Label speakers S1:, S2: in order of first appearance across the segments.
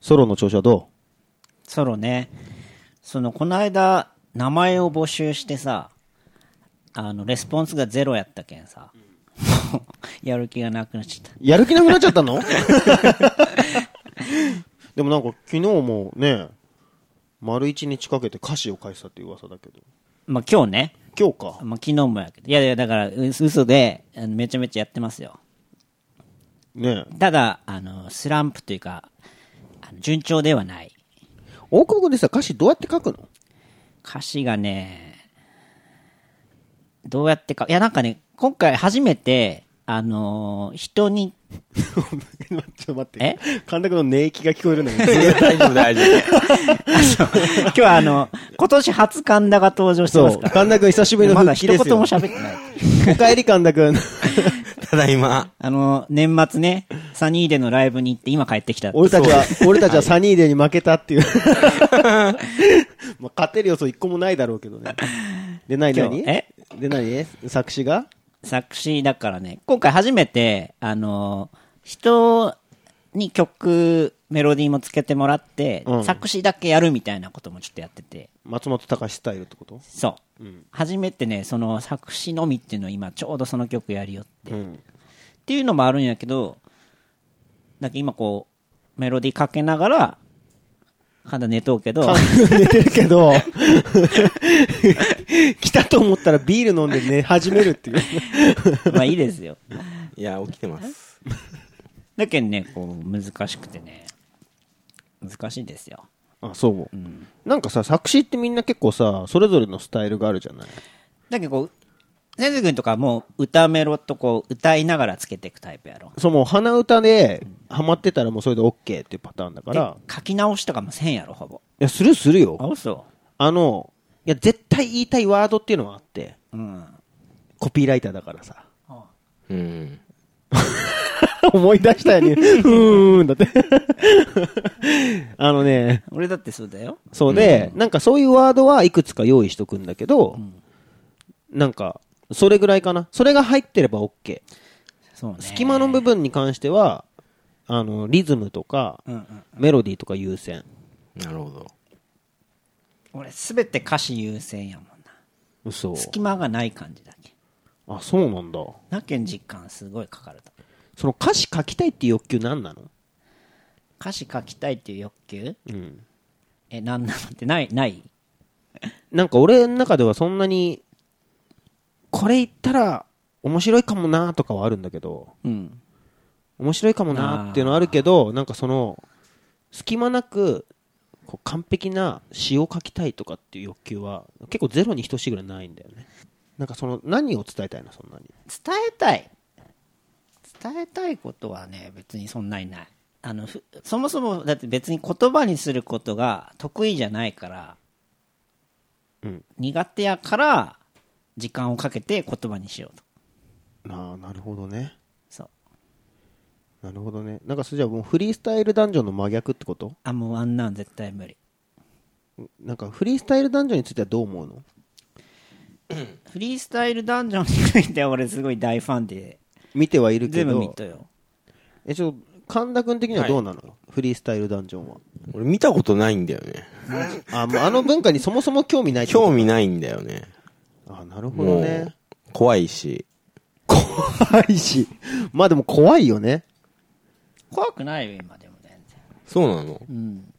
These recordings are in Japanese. S1: ソロの調子はど
S2: ソロね。その、この間、名前を募集してさ、あの、レスポンスがゼロやったけんさ、もう やる気がなくなっちゃった。
S1: うやる気なくなっちゃったのでもなんか昨日もね、丸一日かけて歌詞を返したっていう噂だけど。
S2: まあ、今日ね。
S1: 今日か。
S2: まあ、昨日もやけど。いやいや、だから、う嘘で、あのめちゃめちゃやってますよ。
S1: ねえ
S2: ただ、あの、スランプというか、あの順調ではない。
S1: 大久保でさ、歌詞どうやって書くの
S2: 歌詞がね、どうやってか、いやなんかね、今回初めて、あのー人に、
S1: ちょっと 待って。神田君の寝息が聞こえるんだけど。
S3: 大丈夫、大丈夫。
S2: 今日はあの、今年初神田が登場してま
S1: そ
S2: す
S1: う。
S2: から。
S1: 神田君久しぶりの
S2: まだ
S1: 復帰で
S2: 一言
S1: すよ。
S2: も喋ってない。
S1: おかえり神田君。
S3: ただいま。
S2: あの、年末ね、サニーデのライブに行って今帰ってきた。
S1: 俺たちは、俺たちはサニーデーに負けたっていう。 まあ勝てる要素一個もないだろうけどね。で、なに
S2: 今
S1: な
S2: 日
S1: に
S2: え
S1: で、なに作詞が
S2: 作詞だからね、今回初めて、あのー人に曲、メロディーもつけてもらって、
S1: うん
S2: 作詞だけやるみたいなこともちょっとやってて。
S1: 松本隆スタイルってこと
S2: そう、初めてねその作詞のみっていうのを今ちょうどその曲やるよって、
S1: う
S2: っ
S1: ん。
S2: ていうのもあるんやけどなんか今こうメロディーかけながら肌寝とうけど
S1: 寝てるけど、 来たと思ったらビール飲んで寝始めるっていう。
S2: まあいいですよ
S3: いや、起きてます。
S2: だけどねこう難しくてね難しいですよ
S1: あ、そう。なんかさ、作詞ってみんな結構さ、それぞれのスタイルがあるじゃない
S2: だけどこう先生君とかもう歌メロとこう歌いながらつけていくタイプやろ
S1: そう、もう鼻歌でハマってたらもうそれで OK っていうパターンだか
S2: で
S1: ら。
S2: 書き直しとかもせんやろほぼ
S1: いや、するするよ。
S2: あそ
S1: あの、いや、絶対言いたいワードっていうのはあって、
S2: ううん
S1: コピーライターだからさ。
S3: うん。
S1: 思い出したよね。うーん、だって。 あのね、
S2: 俺だってそうだよ
S1: そうで、なんかそういうワードはいくつか用意しとくんだけど、なんか、それぐらいかな。それが入ってれば OK。
S2: そうね
S1: 隙間の部分に関しては、あの、リズムとか、
S2: うんうん
S1: メロディーとか優先。
S3: なるほど。
S2: 俺すべて歌詞優先やもんな
S1: 嘘。
S2: 隙間がない感じだけ
S1: あ、そうなんだ。
S2: なけん実感すごいかかると
S1: その歌詞書きたいっていう欲求何なの
S2: 歌詞書きたいっていう欲求
S1: うん。
S2: えなんなのってないない
S1: なんか俺の中ではそんなに、これ言ったら面白いかもなとかはあるんだけど、
S2: うん
S1: 面白いかもなっていうのはあるけど、なんかその、隙間なく、こう完璧な詩を書きたいとかっていう欲求は、結構ゼロに等しいぐらいないんだよね。なんかその、何を伝えたいの、そんなに。
S2: 伝えたい伝えたいことはね別にそんなにないあのふそもそもだって別に言葉にすることが得意じゃないから、
S1: うん
S2: 苦手やから時間をかけて言葉にしようと
S1: ああ、なるほどね。
S2: そう
S1: なるほどね。なんかそれじゃあもうフリースタイルダンジョンの真逆ってこと
S2: あもうあんなん絶対無理
S1: なんかフリースタイルダンジョンについてはどう思うの
S2: フリースタイルダンジョンについては俺すごい大ファンで
S1: 見てはいるけ
S2: 全
S1: ど、
S2: 部見たよ
S1: え、ちょ、神田君的にはどうなの、フリースタイルダンジョンは。
S3: 俺見たことないんだよね。
S1: あ、もうあの文化にそもそも興味ないってこと
S3: 興味ないんだよね。
S1: あ、なるほど
S3: も
S1: ね
S3: う。、怖いし。
S1: 怖いし。まあでも怖いよね。
S2: 怖くないよ今でも全然
S3: そうなの
S2: うん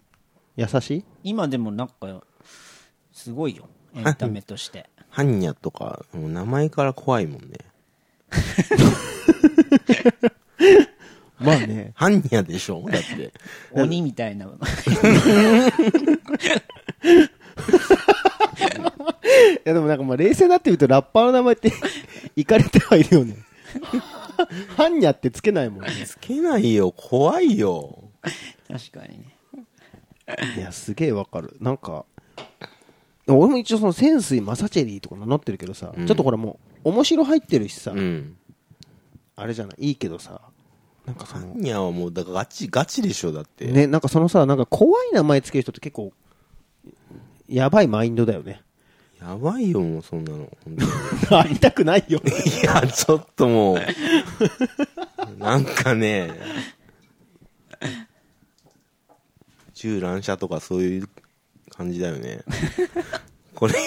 S1: 優しい
S2: 今でもなんかすご いよエンタメと して
S3: ハンニャとか、もう名前から怖いもんね。
S1: まあね。
S3: ハンニャでし ょだって。
S2: 鬼みたいな
S1: いやでもなんかまあ冷静になってみるとラッパーの名前って、いかれてはいるよ ね。ハンニャってつけないもんね。
S3: つけないよ、怖いよ。
S2: 確かにね
S1: いや、すげえわかる。なんか、俺も一応その潜水マサチェリーとか名乗ってるけどさ、
S3: うん
S1: ちょっとほらもう、面白入ってるしさ、
S3: うん。
S1: あれじゃない、いいけどさ、なんかそ
S3: ハ
S1: の
S3: ン、ニャはもう、だからガチ、ガチでしょだって。
S1: ね、なんかそのさ、なんか怖い名前つける人って結構、やばいマインドだよね。
S3: やばいよ、もうそんなの。本当に
S1: 会いたくない よ。
S3: いや、ちょっともう。なんかね、銃乱射とかそういう感じだよね。これ、こん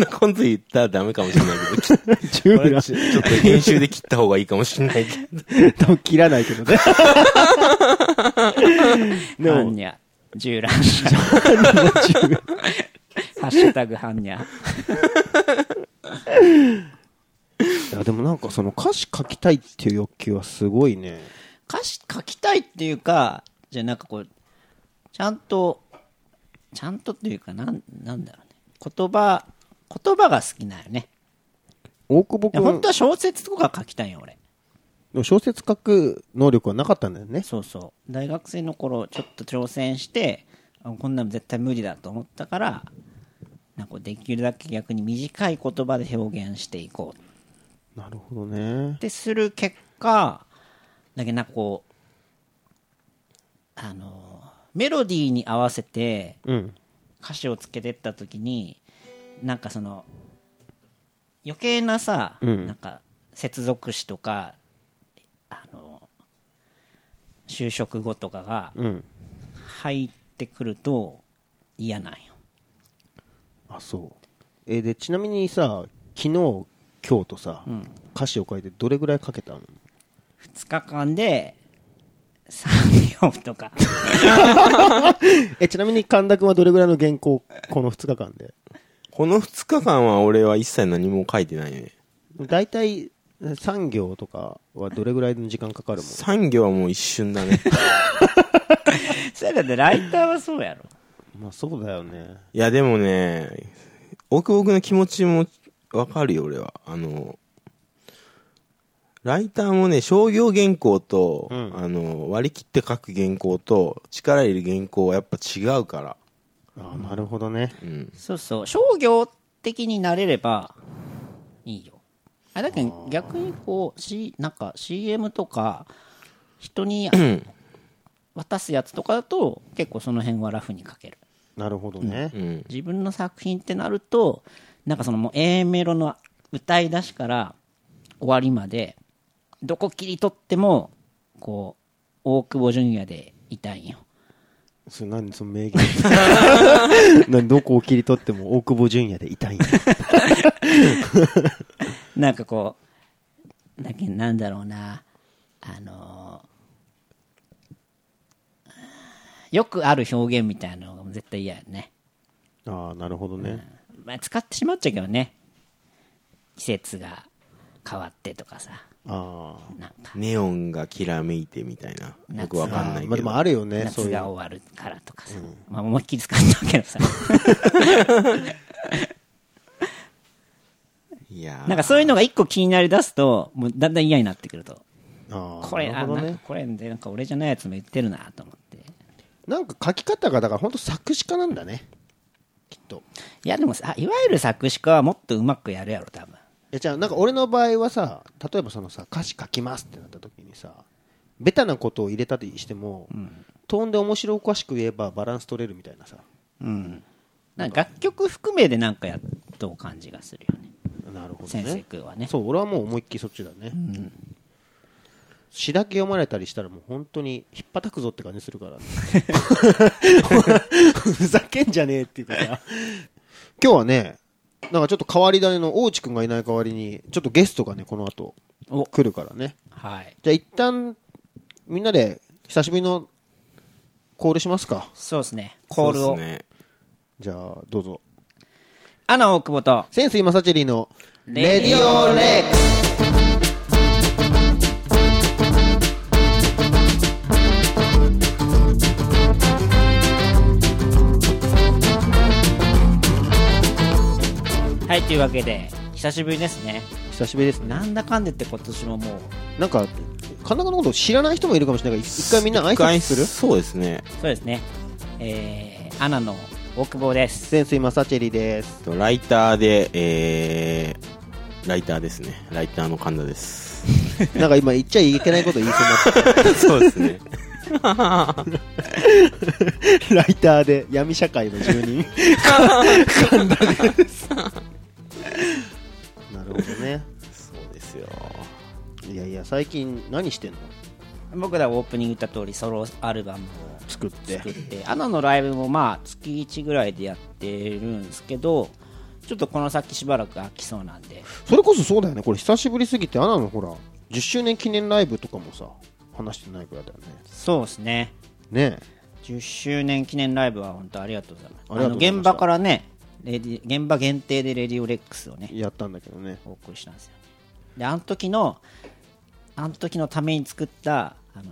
S3: なコント言ったらダメかもしれないけど、
S1: 中
S3: これちょちょっと編集で切った方がいいかもしれないけど。
S1: 多分切らないけど ね。で
S2: ハン
S1: も、
S2: ニャ、銃乱射。 ハッシュタグハンニャ。
S1: いやでもなんかその歌詞書きたいっていう欲求はすごいね。
S2: 歌詞書きたいっていうか、じゃあなんかこう、ちゃんと、ちゃんとっていうか、なん、なんだろうね。言葉、言葉が好きなんよね。
S1: 大久保
S2: いや本
S1: 君
S2: 当、は小説とか書きたいよ、俺。
S1: でも小説書く能力はなかったんだよね。
S2: そうそう。大学生の頃、ちょっと挑戦して、あこんなの絶対無理だと思ったから、なんかこうできるだけ逆に短い言葉で表現していこう
S1: なるほどね
S2: っ。てする結果だけどなんかこうあのメロディーに合わせて
S1: うん。
S2: 歌詞をつけてった時になんかその余計なさ、
S1: うん
S2: なんか接続詞とかあの就職後とかが
S1: うん。
S2: 入ってくると嫌なんよ
S1: あ、そう。えーで、ちなみにさ、昨日、今日とさ、歌詞を書いてどれぐらい書けたの
S2: 2日間で3行とか
S1: え、ちなみに神田君はどれぐらいの原稿、この2日間で
S3: この2日間は俺は一切何も書いてないね。
S1: 大体、3行とかはどれぐらいの時間かかるもん
S3: 産業はもう一瞬だね。
S2: それだってライターはそうやろ
S1: まあそうだよね。
S3: いやでもね、奥奥の気持ちもわかるよ俺は。あの、ライターもね、商業原稿と、
S1: うん
S3: あの、割り切って書く原稿と、力入れる原稿はやっぱ違うから。
S1: あなるほどね。
S3: うん。
S2: そうそう商業的になれればいいよあだけど逆にこう、C、なんか CM とか人に渡すやつとかだと結構その辺はラフに書ける
S1: なるほどね。
S3: うん。
S2: 自分の作品ってなるとなんかそのもう A メロの歌い出しから終わりまでどこ切り取ってもこう大久保純也でいたいんよ
S1: それ何その名言。 何どこを切り取っても大久保純也でいたいんだ。
S2: なんかこう、だけなんだろうな、あのーよくある表現みたいなのが絶対嫌やね。
S1: ああ、なるほどね。
S2: まあ、使ってしまっちゃうけどね。季節が変わってとかさ、
S1: ああ。
S2: なんか
S3: ネオンがきらめいてみたいな。よくわかんないけど。
S1: まあでもあるよね、そう
S2: 夏
S1: いう
S2: が
S1: の。
S2: 終わるからとかさ、まあ思いっきり使ったけ どさ、
S3: いやー
S2: なんかそういうのが一個気になりだすと、もうだんだん嫌になってくると。
S1: ああ
S2: これ、
S1: な
S2: あ、
S1: るほど
S2: なん
S1: ね
S2: か。これで、なんか俺じゃないやつも言ってるなと思って。
S1: なんか書き方が、だから本当作詞家なんだね。きっと。
S2: いやでもさ、いわゆる作詞家はもっとうまくやるやろ、多分。
S1: いや、じゃあなんか俺の場合はさ、例えばそのさ、歌詞書きますってなった時にさ、ベタなことを入れたとしても、トーンで面白おかしく言えばバランス取れるみたいなさ。
S2: うん。なんか楽曲含めでなんかやっとう感じがするよね。
S1: なるほど
S2: 先生
S1: ね。
S2: 君はね。
S1: そう、俺はもう思いっきりそっちだね。詩だけ読まれたりしたらもう本当にひっぱたくぞって感じするから、ふざけんじゃねえっていうかさ今日はねなんかちょっと変わり種の大内くんがいない代わりにちょっとゲストがねこの後
S2: お
S1: 来るからね
S2: はい。
S1: じゃあ一旦みんなで久しぶりのコールしますか
S2: そうですね。コール
S3: そうっ
S2: を。
S3: すね。
S1: じゃあどうぞ
S2: アナ大久保と、
S1: センスイマサチェリーの
S2: レ
S1: レ
S2: デ
S1: デ
S2: ィ
S1: ィ
S2: オ
S1: オ
S2: レ
S1: レッ
S2: ック
S1: ク
S2: はい、というわけで、久しぶりですね。
S1: 久しぶりですね
S2: なんだかんでって今年ももう、
S1: なんか神田君のこと知らない人もいるかもしれないから一回みんな挨
S3: 一回
S1: 拶する
S3: そうですね。
S2: そうですね。えー、アナの大久保です。
S1: センスイマサチェリーです
S3: とライターで、えー、ライターですね。ライターの神 田です。
S1: なんか今言っちゃいけないこと言いそうになった
S3: そうで すね。
S1: ライターで闇社会の住人神田ですなるほどね
S3: そうですよ。
S1: いやいや最近何してんの
S2: 僕らオープニング言った通りソロアルバムを
S1: 作って
S2: 作ってアナのライブもまあ月1ぐらいでやってるんですけどちょっとこの先しばらく飽きそうなんで
S1: それこそそうだよねこれ久しぶりすぎてアナのほら10周年記念ライブとかもさ話してないくらいだよね
S2: そうですね
S1: ね
S2: 10周年記念ライブは本当ありがとうございます
S1: ありがとうございました
S2: の現場からねレディ現場限定でレディオレックスをね
S1: えやったんだけどね
S2: お送りしたんですよであの時のあの時のために作ったあの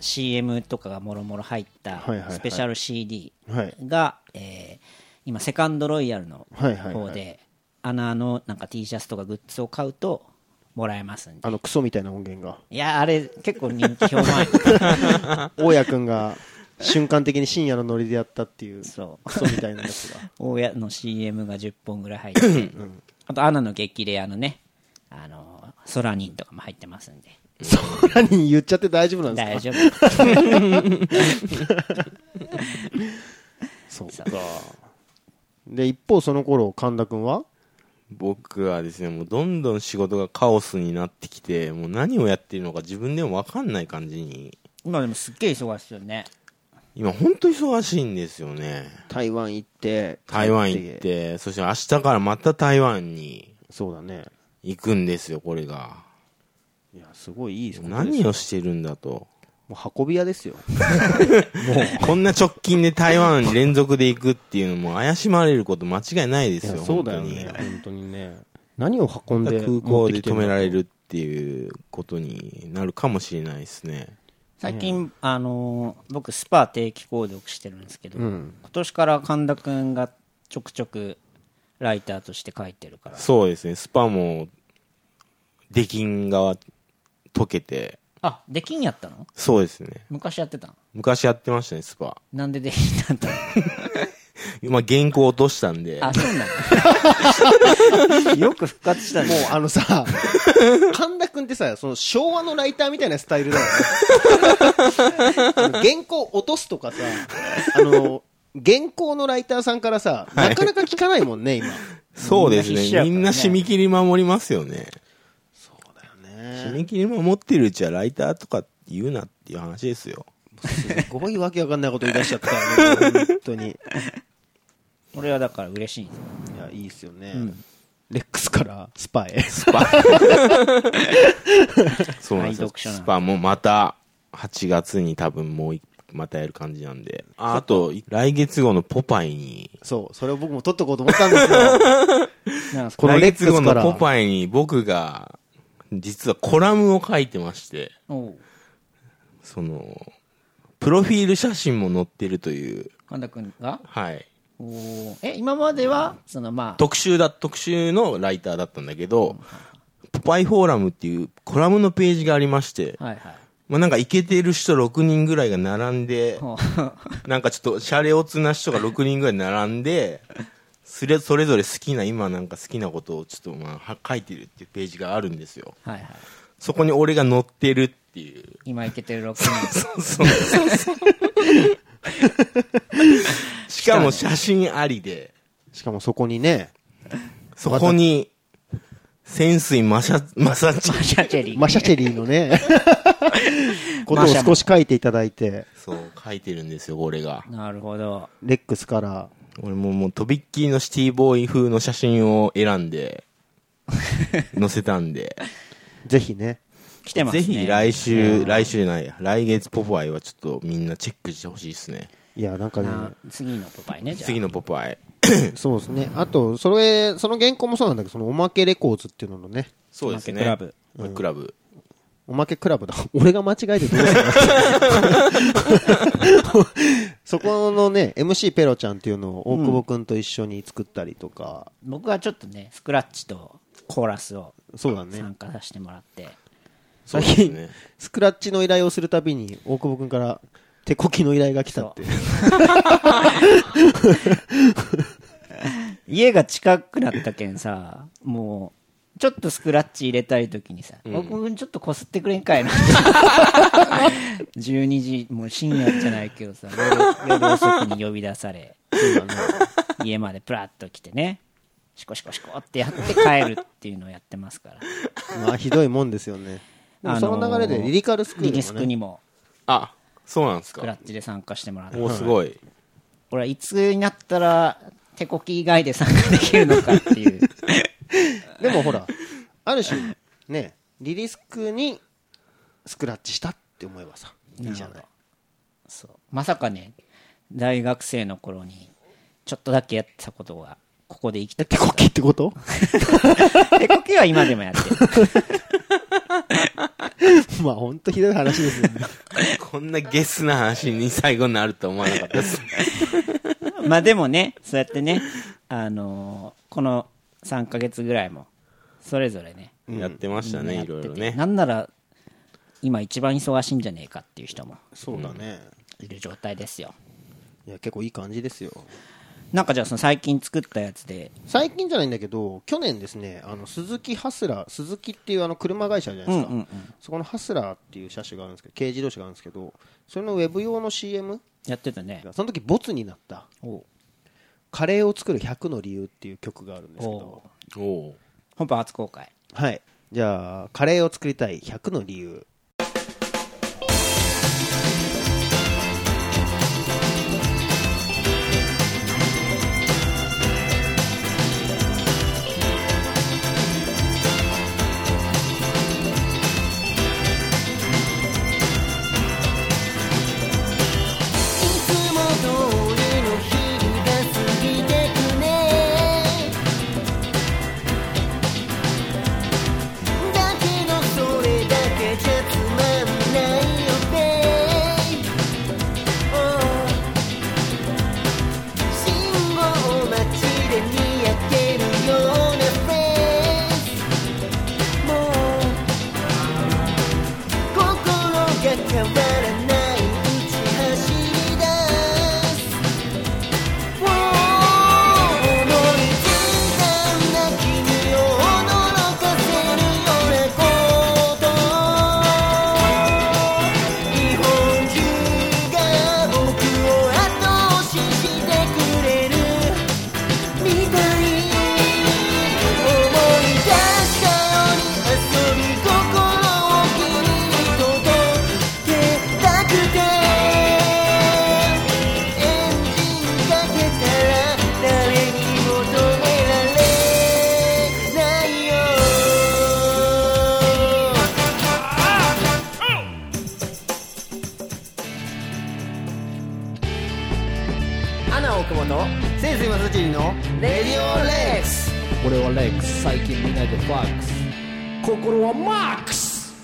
S2: CM とかがもろもろ入っ
S1: はいはいは
S2: た
S1: い
S2: スペシャル CD
S1: はい
S2: が、えー今セカンドロイヤルの
S1: はいはいはい
S2: 方で穴のなんか T シャツとかグッズを買うともらえますんで
S1: あのクソみたいな音源が
S2: いやあれ結構人気評判
S1: 大家君が瞬間的に深夜のノリでやったっていうク
S2: そう
S1: ソみたいなやつが
S2: 大家の CM が10本ぐらい入ってて、あとアナの激レアのねあのソラニンとかも入ってますんで
S1: そらに言っちゃって大丈夫なんですか
S2: 大丈夫
S1: そうかで一方その頃神田君は
S3: 僕はですね、もうどんどん仕事がカオスになってきて、もう何をやってるのか自分でもわかんない感じに、
S2: 今でもすっげえ忙しいよね
S3: 今本当忙しいんですよね。
S1: 台湾行って
S3: 台湾行って、そして明日からまた台湾に
S1: そうだね
S3: 行くんですよ、これが。
S1: いやすごいいいことです
S3: 何をしてるんだと。
S1: もう運び屋ですよ
S3: こんな直近で台湾連続で行くっていうのも怪しまれること間違いないですよ。
S1: そうだよね
S3: 本
S1: 本当にね何を運ん
S3: 当
S1: で
S3: に空港で
S1: 持ってきてん
S3: 止
S1: だ
S3: められるっていうことになるかもしれないですね。
S2: 最近、あのー僕スパ定期購読してるんですけど、
S1: ん
S2: 今年から神田君がちょくちょくライターとして書いてるから
S3: そうですね、スパも、出禁が解けて、
S2: あできんやったの
S3: そうですね。
S2: 昔やってたの
S3: 昔やってましたね、スパ。
S2: なんでできんだったの
S3: まあ、原稿落としたんで、
S2: あそうなの よく復活したね
S1: もうあのさ神田君ってさその昭和のライターみたいなスタイルだ よねあの原稿落とすとかさあの原稿のライターさんからさなかなか聞かないもんね今
S3: そうですね
S2: みんな必死やから
S3: み
S2: ね
S3: んな締め切り守りますよね。
S1: ね
S3: 締め切り守ってるうちはライターとか言うなっていう話ですよ。
S1: すごいわけわかんないこと言い出しちゃったからね本当にい
S2: 俺はだから嬉しいんですよ
S1: やいいっすよね、レックスからスパ へ
S3: スパ。そうなんですよ。
S2: 愛読書なん
S3: ス
S2: で
S3: パもまた、8月に多分もう一またやる感じなんで。ああと、来月号のポパイに、
S1: そうそれを僕も取っとこうと思ったんですよ
S2: なんか
S1: この
S3: 来
S1: レック
S3: 月号
S1: スか
S3: の
S1: ら
S3: ポパイに僕が、実はコラムを書いてまして、
S2: おう
S3: その、プロフィール写真も載ってるという、
S2: 神田君が
S3: はい。
S2: おうえ今まではそのまあ
S3: 特集だ、特集のライターだったんだけど、ポパイフォーラムっていうコラムのページがありまして、
S2: はいはい
S3: まあなんかイケてる人6人ぐらいが並んで、
S2: おう
S3: なんかちょっとシャレオツな人が6人ぐらい並んで、それそれぞれ好きな、今なんか好きなことをちょっとまあは書いてるっていうページがあるんですよ。
S2: はいはい
S3: そこに俺が載ってるっていう。
S2: 今いけてる6人
S3: そうそうそう。しかも写真ありで、
S1: しかもそこにね
S3: そこに、潜水マシャ、マサチ。
S2: マシャチェリー
S1: マシャチェリーの ねことを少し書いていただいて
S3: そう、書いてるんですよ、俺が。
S2: なるほど
S1: レックスから
S3: 俺ももう、とびっきりのシティボーイ風の写真を選ん で、載せたんで。
S1: ぜひね
S2: 来てますね
S3: ぜひ来週、来週じゃない、来月ポパイはちょっとみんなチェックしてほしいですね。
S1: いやなんかね
S2: あ次のポパイねじゃあ
S3: 次のポパイ。
S1: そうですねあとそれその原稿もそうなんだけどそのおまけレコーズっていうののね
S3: そうですね。
S2: クラブ。
S3: クラブ。
S1: おまけクラブだ 俺が間違えてどうするのそこのね MC ペロちゃんっていうのを大久保君と一緒に作ったりとか、
S2: 僕はちょっとねスクラッチとコーラスを
S1: そうだね
S2: 参加させてもらって、
S3: そう
S1: 最
S3: です
S1: 近、
S3: ね。
S1: スクラッチの依頼をするたびに大久保君から手こきの依頼が来たって
S2: 家が近くなったけんさもうちょっとスクラッチ入れたい時にさ「僕、ちょっとこすってくれんかいな」12時もう深夜じゃないけどさ夜夜遅くに呼び出され家までプラッと来てねシコシコシコってやって帰るっていうのをやってますから
S1: まあひどいもんですよねでもその流れでリリカルスクールもね
S2: リリスクにも
S3: あ、そうなんです
S2: クラ
S3: か
S2: ッ。チで参加してもらって
S3: もうすごい。
S2: 俺はいつになったら手こき以外で参加できるのかっていう
S1: でもほら、ある種、ね、リリスクにスクラッチしたって思えばさ、いいじゃない。
S2: そうまさかね大学生の頃にちょっとだけやってたことがここで生き て
S1: 手こきってこと
S2: 手こきは今でもやってる
S1: まあ本当ひどい話ですよね。
S3: こんなゲスな話に最後になると思わなかったです。
S2: まあでもねそうやってねあのーこの3ヶ月ぐらいもそれぞれね
S3: やってましたね、いろいろね
S2: な。んなら今一番忙しいんじゃねえかっていう人も
S1: そうだね。
S2: いる状態ですよ
S1: いや、結構いい感じですよ。
S2: なんかじゃあその最近作ったやつで
S1: 最近じゃないんだけど、去年ですね、あの、鈴木ハスラー、鈴木っていうあの車会社じゃないですか。そこのハスラーっていう車種があるんですけど、軽自動車があるんですけど、それのウェブ用の CM
S2: やってたね
S1: が、その時ボツになった、
S2: お
S1: カレーを作る100の理由っていう曲があるんですけど
S2: お、
S3: おう
S2: 本編初公開
S1: はい。じゃあ、カレーを作りたい100の理由。
S4: いつも通りの日々が過ぎてくね」「だけどそれだけじゃつまんないよね」「信号待ちで見やけるようなフェイス」「もう」心が変わらないうち走り出す Wow 思いついたんだ君を驚かせるようなこと日本中が僕を後押ししてくれるみたい思い出したように遊び心を切り届けたくてエンジンかけたら誰にも止められないよ
S1: アナ奥本、センスマスチリのレディオレックス。
S5: 俺はレックス最近見ないでファックス心はマックス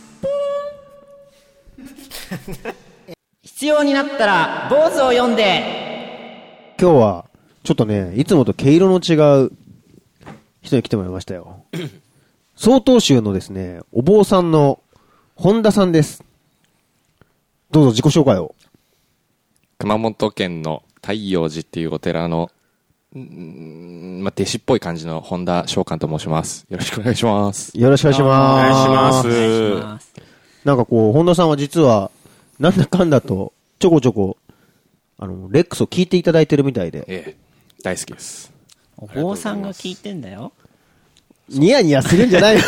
S2: 必要になったら坊主を読んで
S1: 今日は、ちょっとね、いつもと毛色の違う人に来てもらいましたよ。曹洞宗のですね、お坊さんの本田さんです。どうぞ自己紹介を。
S6: 熊本県の太陽寺っていうお寺の、うんまあ、弟子っぽい感じの本田翔寛と申します。よろしくお願いします。
S1: よろしくお願いします。
S3: お願いし
S2: お願
S3: ま
S2: いします
S1: なんかこう、本田さんは実は、なんだかんだと、ちょこちょこ、あの、レックスを聞いていただいてるみたいで、
S6: ええ、大好きです。
S2: お坊さんが聞いてんだよ
S1: ニヤニヤするんじゃないよ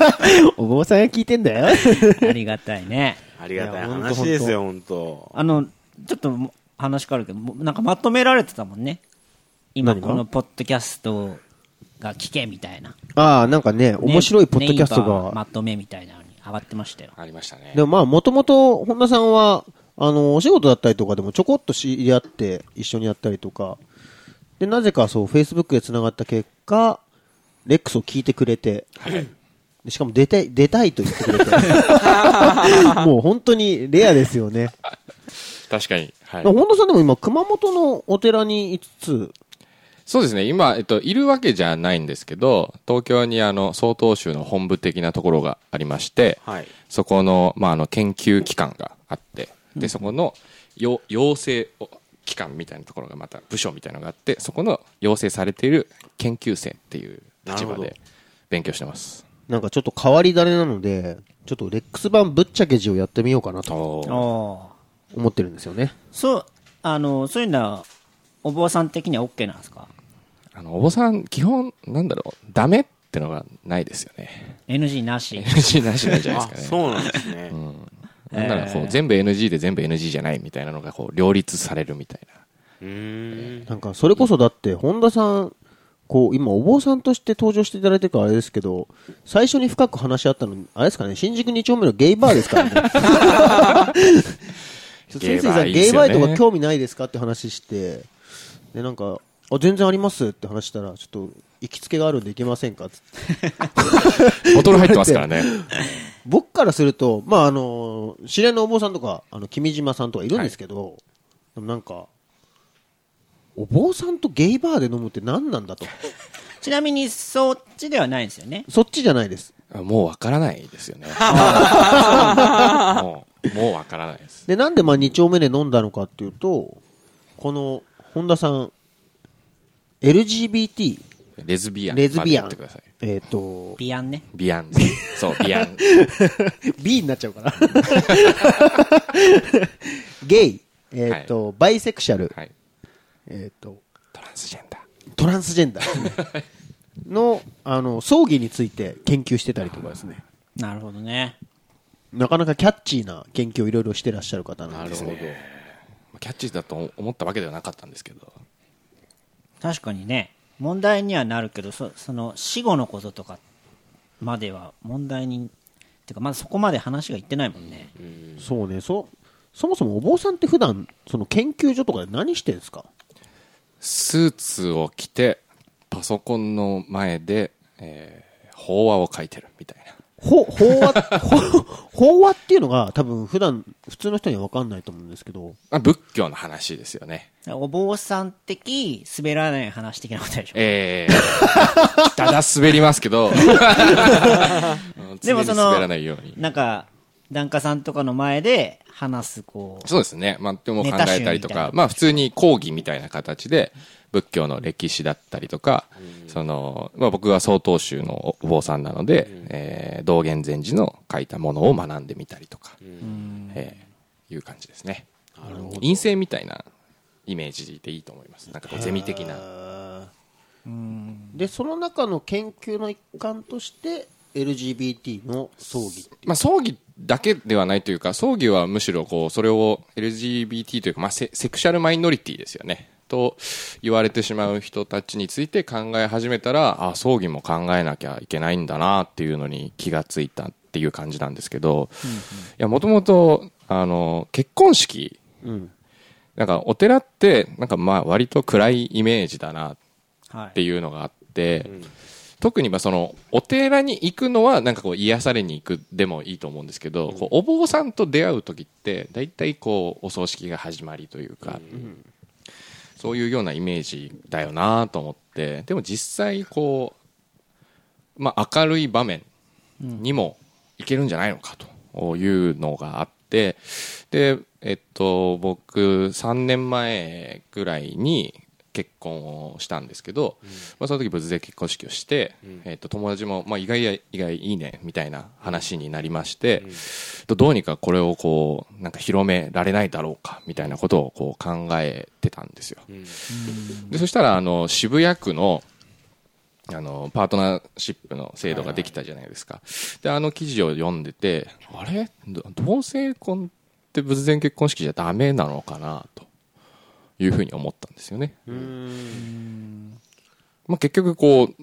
S1: お坊さんが聞いてんだよ。
S2: ありがたいね
S3: ありがたい話ですよ、本当
S2: あのちょっとも話変わるけどもなんかまとめられてたもんね今
S1: 何が
S2: このポッドキャストが聞けみたいな、ね
S1: ああ、なんかね、面白いポッドキャスト
S2: ネイバー
S1: が。
S2: まとめみたいなのに上がってましたよ
S6: ありましたね
S1: で。もまあ、もともと本田さんは、あの、お仕事だったりとかでもちょこっと知り合って一緒にやったりとか、で、なぜかそう、Facebook で繋がった結果、レックスを聞いてくれて、でしかも出て、出たいと言ってく れて。 もう本当にレアですよね。
S6: 確かに。はい。
S1: 本田さんでも今、熊本のお寺に5つ、
S6: そうですね。今、えっと、いるわけじゃないんですけど、東京にあの、曹洞宗の本部的なところがありまして、
S3: はい
S6: そこの、まあ、あの、研究機関があって、で、そこの、よ、養成を機関みたいなところがまた部署みたいなのがあって、そこの養成されている研究生っていう
S3: な
S6: 立
S3: る
S6: 場
S3: ほど
S6: で勉強してます。
S1: なんかちょっと変わり種なので、ちょっとレックス版ぶっちゃけ字をやってみようかなと
S6: おー
S2: ああ
S1: 思ってるんですよね。
S2: そうあのそういうのはお坊さん的には OK なんですか
S6: あの、お坊さん、基本、なんだろう、ダメっってのがないですよ ね
S2: NG なし
S6: NG なしなんじゃない
S3: あ、
S6: ですかね
S3: そうなんですね。
S6: なんならこう全部 NG で全部 NG じゃないみたいなのがこう両立されるみたい
S3: う
S6: な
S3: ーん。
S1: なんかそれこそだって本田さんこう今お坊さんとして登場していただいてるからあれですけど最初に深く話し合ったのあれですかね新宿2丁目のゲイバーですからね 先生さんゲ
S6: ゲ
S1: イ
S6: イ
S1: バ
S6: バーいいで
S1: ー
S6: すよね
S1: とか興味ないですかって話してでなんかあ全然ありますって話したらちょっと行きつけがあるんで行けませんかっつって
S6: ボトル入ってますからね
S1: 僕からすると、まあ、あの、知り合いのお坊さんとか、あの、君島さんとかいるんですけど、でもなんか、お坊さんとゲイバーで飲むって何なんだと。
S2: ちなみにそっちではないんですよね
S1: そっちじゃないです。
S6: もうわからないです よねもうもうわからないです
S1: で、なんでまあ2丁目で飲んだのかっていうと、この、本田さん、LGBT、
S6: レズビアン
S1: レズビア
S6: ま
S1: ン
S6: で言ってください、
S1: えっ、と、
S2: ビアンね
S6: ビアンそうビア ン
S1: B になっちゃうか な。ゲイ、えっ、と、バイセクシャル、
S6: はい
S1: えっ、と、
S6: トランスジェンダー
S1: トランスジェンダーのあの葬儀について研究してたりとかですね
S2: なるほどね
S1: なかなかキャッチーな研究をいろいろしてらっしゃる方なんですね
S6: まあキャッチーだと思ったわけではなかったんですけど
S2: 確かにね問題にはなるけどそその死後のこととかまでは問題にてかまだそこまで話がいってないもんね、
S1: そうねそそもそもお坊さんって普段その研究所とかで何してんですか
S6: スーツを着てパソコンの前で、えー法話を書いてるみたいな
S1: ほ 法話ほ法話っていうのが多分普段普通の人には分かんないと思うんですけど
S6: あ仏教の話ですよね
S2: お坊さん的滑らない話的なことでしょ
S6: えー、ただ滑りますけ どうん
S2: で
S6: 常
S2: も
S6: に
S2: その
S6: 滑らないように
S2: なんか檀家さんとかの前で話すこう
S6: そうですね。まあ、でも考えたりと
S2: ネタ集みたいな
S6: か、まあ、普通に講義みたいな形で、仏教の歴史だったりとか、その、まあ、僕は曹洞宗のお坊さんなので、えー道元禅師の書いたものを学んでみたりとか、えーいう感じですね。陰性みたいなイメージでいいと思います。なんかこう、ゼミ的な。
S1: でその中の研究の一環として LGBT の葬儀
S6: まあ、葬儀だけではないというか、葬儀はむしろこう、それを LGBT というか、まあ、セセクシャルマイノリティですよね。と言われてしまう人たちについて考え始めたら、あ、葬儀も考えなきゃいけないんだなっていうのに気がついたっていう感じなんですけど、いや、もともと、あの、結婚式、なんかお寺って、なんかまあ割と暗いイメージだな
S2: は
S6: って
S2: い
S6: いうのがあって、特にまあそのお寺に行くのはなんかこう癒されに行くでもいいと思うんですけど、こうお坊さんと出会う時って大体こうお葬式が始まりというか、そういうようなイメージだよなと思ってでも実際こう、まあ、明るい場面にも行けるんじゃないのかというのがあってで、えっと、僕3年前ぐらいに結婚をしたんですけど、まあ、その時仏前結婚式をして、えっと、友達も、まあ、意外や意外いいねみたいな話になりまして、とどうにかこれをこうなんか広められないだろうかみたいなことをこう考えてたんですよ。でそしたらあの渋谷区のあの、パートナーシップの制度ができたじゃないですか。で、あの記事を読んでて、あれど同性婚って仏前結婚式じゃダメなのかな、というふうに思ったんですよね。まあ、結局こう、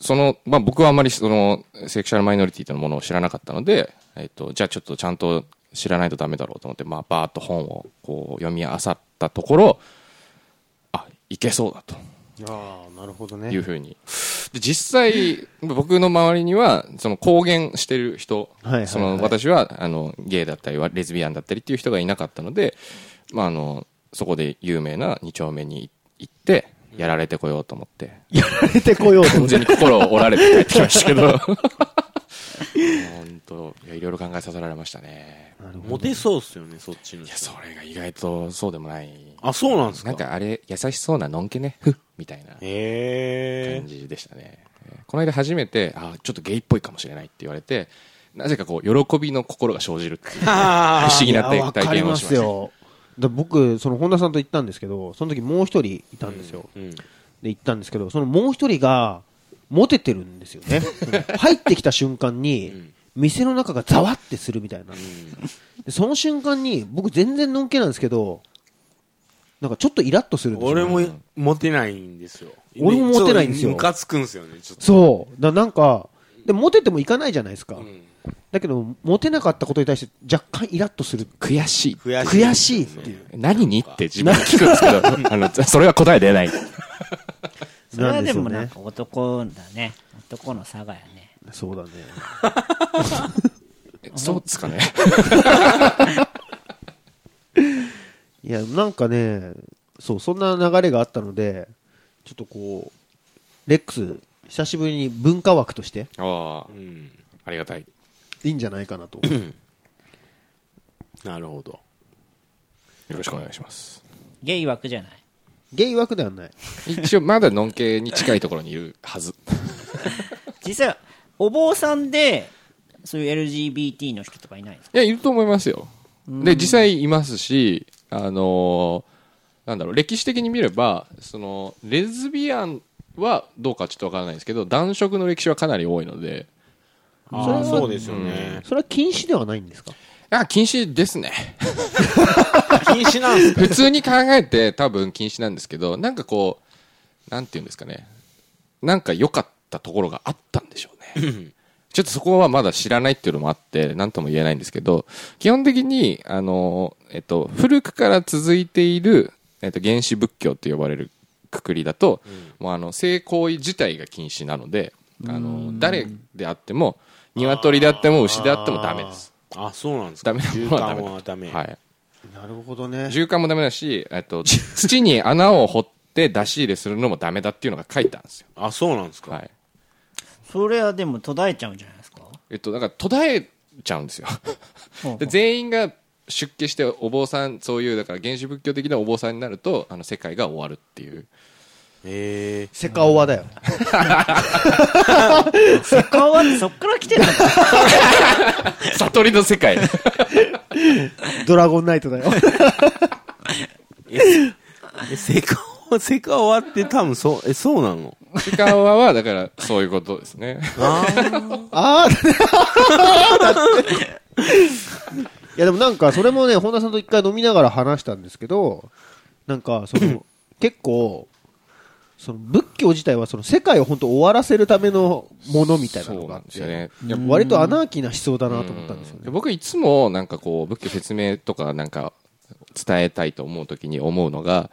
S6: その、まあ、僕はあまりその、セクシャルマイノリティというものを知らなかったので、えっと、じゃあちょっとちゃんと知らないとダメだろうと思って、まあ、バーっと本をこう読み漁ったところ、あ、いけそうだと。
S1: ああなるほど
S6: いうふうに。で、実際、僕の周りには、その公言してる人、
S1: はいはいはい
S6: その私は、あの、ゲイだったり、レズビアンだったりっていう人がいなかったので、まあ、あの、そこで有名な二丁目に行って、やられてこようと思って、
S1: 出てこようと
S6: 完全に心を折られて帰ってきましたけど。 本当いやいろいろ考えさせられましたね。
S3: モテそうっすよね、そっちの
S6: いや、それが意外とそうでもない。
S3: あ、そうなんです
S6: なん
S3: か。
S6: かあれ、優しそうなのんけね、ふっみたいな。
S3: へ
S6: 感じでしたね、えーこの間初めてあちょっとゲイっぽいかもしれないって言われてなぜかこう喜びの心が生じるって いう不思議な体体験をしました
S1: いやわかりますよだ僕その本田さんと行ったんですけどその時もう一人いたんですよ、
S3: え。
S1: で行ったんですけどそのもう一人がモテてるんですよね。うん入ってきた瞬間に、店の中がざわってするみたいな。でその瞬間に、僕全然のんけなんですけど、なんかちょっとイラッとするんですよ、
S3: 俺もモテないんですよ。
S1: 俺もモテないんですよ
S3: ムカつくんですよね、ちょっと。
S1: そう。だなんか、でモテてもいかないじゃないですか。だけど、モテなかったことに対して若干イラッとする。
S6: 悔しい。
S3: 悔しい。
S1: 悔しいっていう。
S6: 何にって自分で聞くんですけど、 あの、それは答え出ない。
S2: それはでも
S1: な
S2: なんん
S1: です
S2: か男だね男の差がやね
S1: そうだね。
S6: そうですかね。
S1: いや、なんかね、そう、そんな流れがあったので、ちょっとこう、レックス、久しぶりに文化枠として
S6: ああ
S3: う、ん。
S6: ありがたい。
S1: いいんじゃないかなと。
S3: なるほど。
S6: よろしくお願いします。
S2: ゲイ枠じゃない
S1: ゲイ枠ではない。
S6: 一応、まだのんけに近いところにいるはず。
S2: 実際お坊さんでそういう LGBT の人とかいないんですか
S6: いや、いると思いますよ。で、実際いますし、あのーなんだろう、歴史的に見れば、その、レズビアンはどうかちょっとわからないですけど、男色の歴史はかなり多いので、
S1: それは
S3: あーそうですよね。
S1: それは禁止ではないんですか
S6: あ、禁止ですね。
S3: 禁止なんですか
S6: 普通に考えて多分禁止なんですけど、なんかこう、なんていうんですかね。なんか良かったところがあったんでしょうね。ちょっとそこはまだ知らないっていうのもあって、なんとも言えないんですけど、基本的に、あの、えっと、古くから続いている、えっと、原始仏教と呼ばれるくくりだと、もうあの、性行為自体が禁止なので、あの、誰であっても、鶏であっても牛であってもダメです。
S3: あ、そうなんですか
S6: ダメな
S3: 住
S6: ものはダメ
S3: 環はダメ。
S6: はい。
S1: なるほどね。
S6: 住環もダメだし、えっと、土に穴を掘って出し入れするのもダメだっていうのが書いてあるんですよ。
S3: あ、そうなんですか
S6: はい。
S2: それはでも途絶えちゃうんじゃないですか
S6: えっと、だから途絶えちゃうんですよ。で全員が出家してお坊さん、そういう、だから原始仏教的なお坊さんになると、あの、世界が終わるっていう。
S3: え
S1: セカオワだよ。
S2: セカオワ ってそっから来てるのか
S6: 悟りの世界。
S1: ドラゴンナイトだよ。
S3: ーえ。セ カオ、セカオワって多分そう、え、そうなの
S6: 時間はは、だから、そういうことですね。
S1: あー いやでもなんかそれもね本田さんと一回飲みながら話したんですけどなんかその結構その仏教自体はその世界を本当終わらせるためのものみたいな
S6: そ
S1: の
S6: う
S1: があ
S6: なん
S1: っ
S6: ですよ
S1: て
S6: ね。いや
S1: 割とアナーキーな思想だなと思ったんですよ
S6: で
S1: ね
S6: 僕いつもなんかこう仏教説明とかなんか伝えたいと思うときに思うのが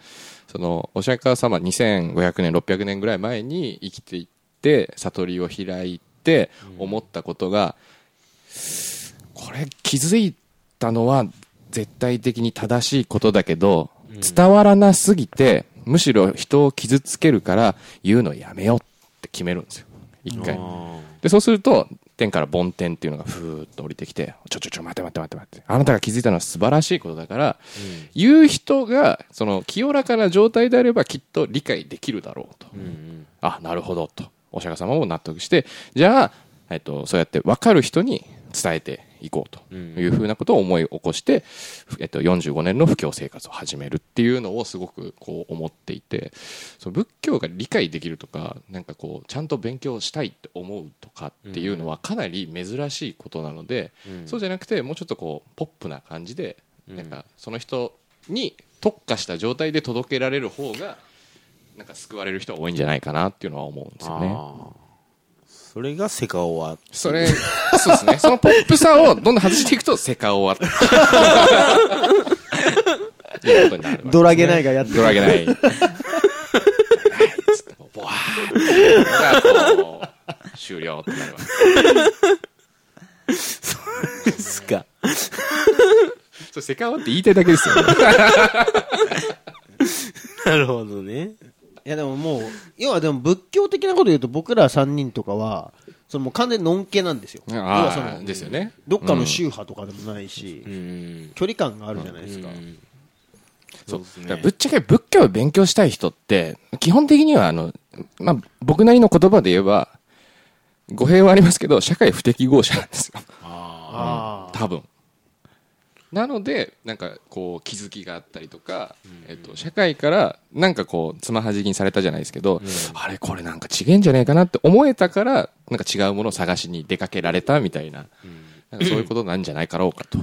S6: そのお釈迦様2500年600年ぐらい前に生きていって悟りを開いて思ったことが、これ気づいたのは絶対的に正しいことだけど、伝わらなすぎてむしろ人を傷つけるから言うのやめようって決めるんですよ一回。で、そうすると、天から梵天っていうのがふーっと降りてきて、ちょちょちょ、待て待て待て待て。あなたが気づいたのは素晴らしいことだから、言う人が、その、清らかな状態であればきっと理解できるだろうと。あ、なるほど、と。お釈迦様も納得して、じゃあ、えっと、そうやって分かる人に伝えていこうというふうなことを思い起こして、えっと、45年の布教生活を始めるっていうのをすごくこう思っていて、その仏教が理解できるとか、なんかこう、ちゃんと勉強したいって思うとかっていうのはかなり珍しいことなので、そうじゃなくて、もうちょっとこう、ポップな感じで、なんかその人に特化した状態で届けられる方が、なんか救われる人が多いんじゃないかなっていうのは思うんですよね。
S3: あーそれがセカオワ。
S6: それ、そうですね。そのポップさをどんどん外していくと、セカオワって。 いうことになるわけですね
S1: ドラゲナイがやってる
S6: ドラゲない。ないっつってもうボワーッこう終了ってなるわけ。
S3: ですか。
S6: それセカオワって言いたいだけですよ、ね。
S3: なるほどね。
S1: いやでももう要はでも仏教的なこと言うと僕ら3人とかはそのもう完全にのんけなんですよ要はそ
S6: ああ、
S1: の
S6: ですよね。
S1: どっかの宗派とかでもないし、
S3: うん。
S1: 距離感があるじゃないですか、
S6: そう
S3: ですね
S6: だからぶっちゃけ仏教を勉強したい人って、基本的にはあの、まあ、僕なりの言葉で言えば、語弊はありますけど、社会不適合者なんですよ。
S1: ああ
S6: 多分。なのでなんかこう気づきがあったりとか、えっと、社会からなんかこうつまはじきにされたじゃないですけど、あれこれなんか違えんじゃねえかなって思えたからなんか違うものを探しに出かけられたみたいな,、なんかそういうことなんじゃないかろうかと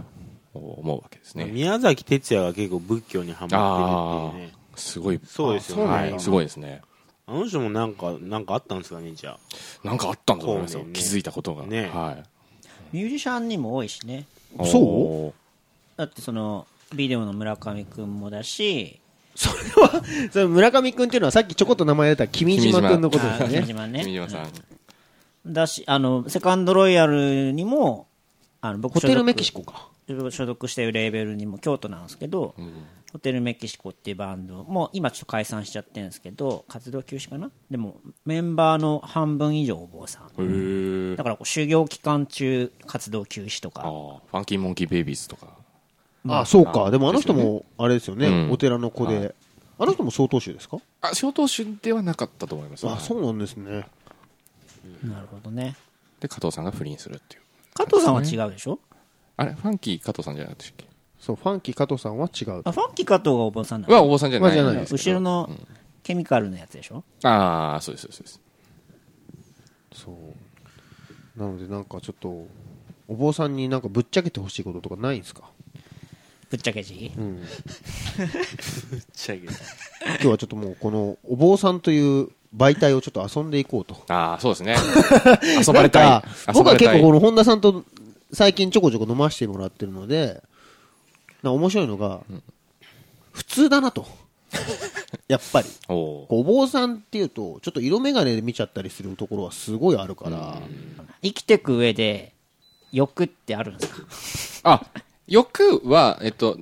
S6: 思うわけですね。
S3: 宮崎哲也が結構仏教にハマ
S6: あ
S3: ってるっていうね
S6: あすごい
S3: そうですよね
S6: はい、すごいですね。
S3: あの人もなんかなんかあったんですかねじゃ
S6: なんかあったんだと思いますよ、
S3: こうね
S6: 気づいたことが。
S3: ね
S6: は
S2: ミュージシャンにも多いしね
S6: い、
S1: そう
S6: おー
S2: だってそのビデオの村上くんもだし
S1: それは、それ村上くんっていうのはさっきちょこっと名前出た君島くんのこと
S2: あ
S1: です
S2: ー
S1: よね。
S2: 君島ね
S6: 君島さん、
S2: だしあのセカンドロイヤルにもあの僕
S1: ホテ
S2: 所
S1: ル
S2: 属
S1: メキシコか。
S2: 所属してるレーベルにも京都なんですけど、ホテルメキシコっていうバンドもう今ちょっと解散しちゃってるんですけど活動休止かなでもメンバーの半分以上お坊さん
S6: へえ
S2: だからこう修行期間中活動休止と
S6: ああ
S2: か
S6: ファンキーモンキーベイビーズとか
S1: あ、そうか。でもあの人も、あれですよ
S6: う
S1: ね。
S6: ん
S1: お寺の子で。あの人も曹洞宗ですか
S6: あ小投手ではなかったと思います、
S1: あ、そうなんですね。
S2: なるほどね
S6: で加藤さんが不倫するっていう
S2: 加藤さんは違うでしょ
S6: あれファンキー加藤さんじゃなかったっけ
S1: そう、ファンキー加藤さんは違う。
S2: あファンキー加藤がお坊さんな
S6: は
S2: の
S6: お坊さんじゃない,、
S1: はじゃないです
S2: 後ろのケミカルのやつでしょ
S6: ああそうですそうです
S1: そう。なのでなんかちょっと、お坊さんになんかぶっちゃけてほしいこととかないんですか
S2: ぶっちゃけじ
S1: うん。
S3: あ
S1: 今日はちょっともうこのお坊さんという媒体をちょっと遊んでいこうと。
S6: ああそうですね 遊ばれたい
S1: なんか
S6: 遊
S1: 僕
S6: ば
S1: は
S6: れ
S1: 結
S6: たい
S1: 構この本田さんと最近ちょこちょこ飲ましてもらってるので、なんか面白いのが、普通だな と。やっぱり。
S6: おお
S1: こうお坊さんっていうと、ちょっと色眼鏡で見ちゃったりするところはすごいあるから、
S2: 生きてく上で欲ってあるんですか
S6: あ欲はえっと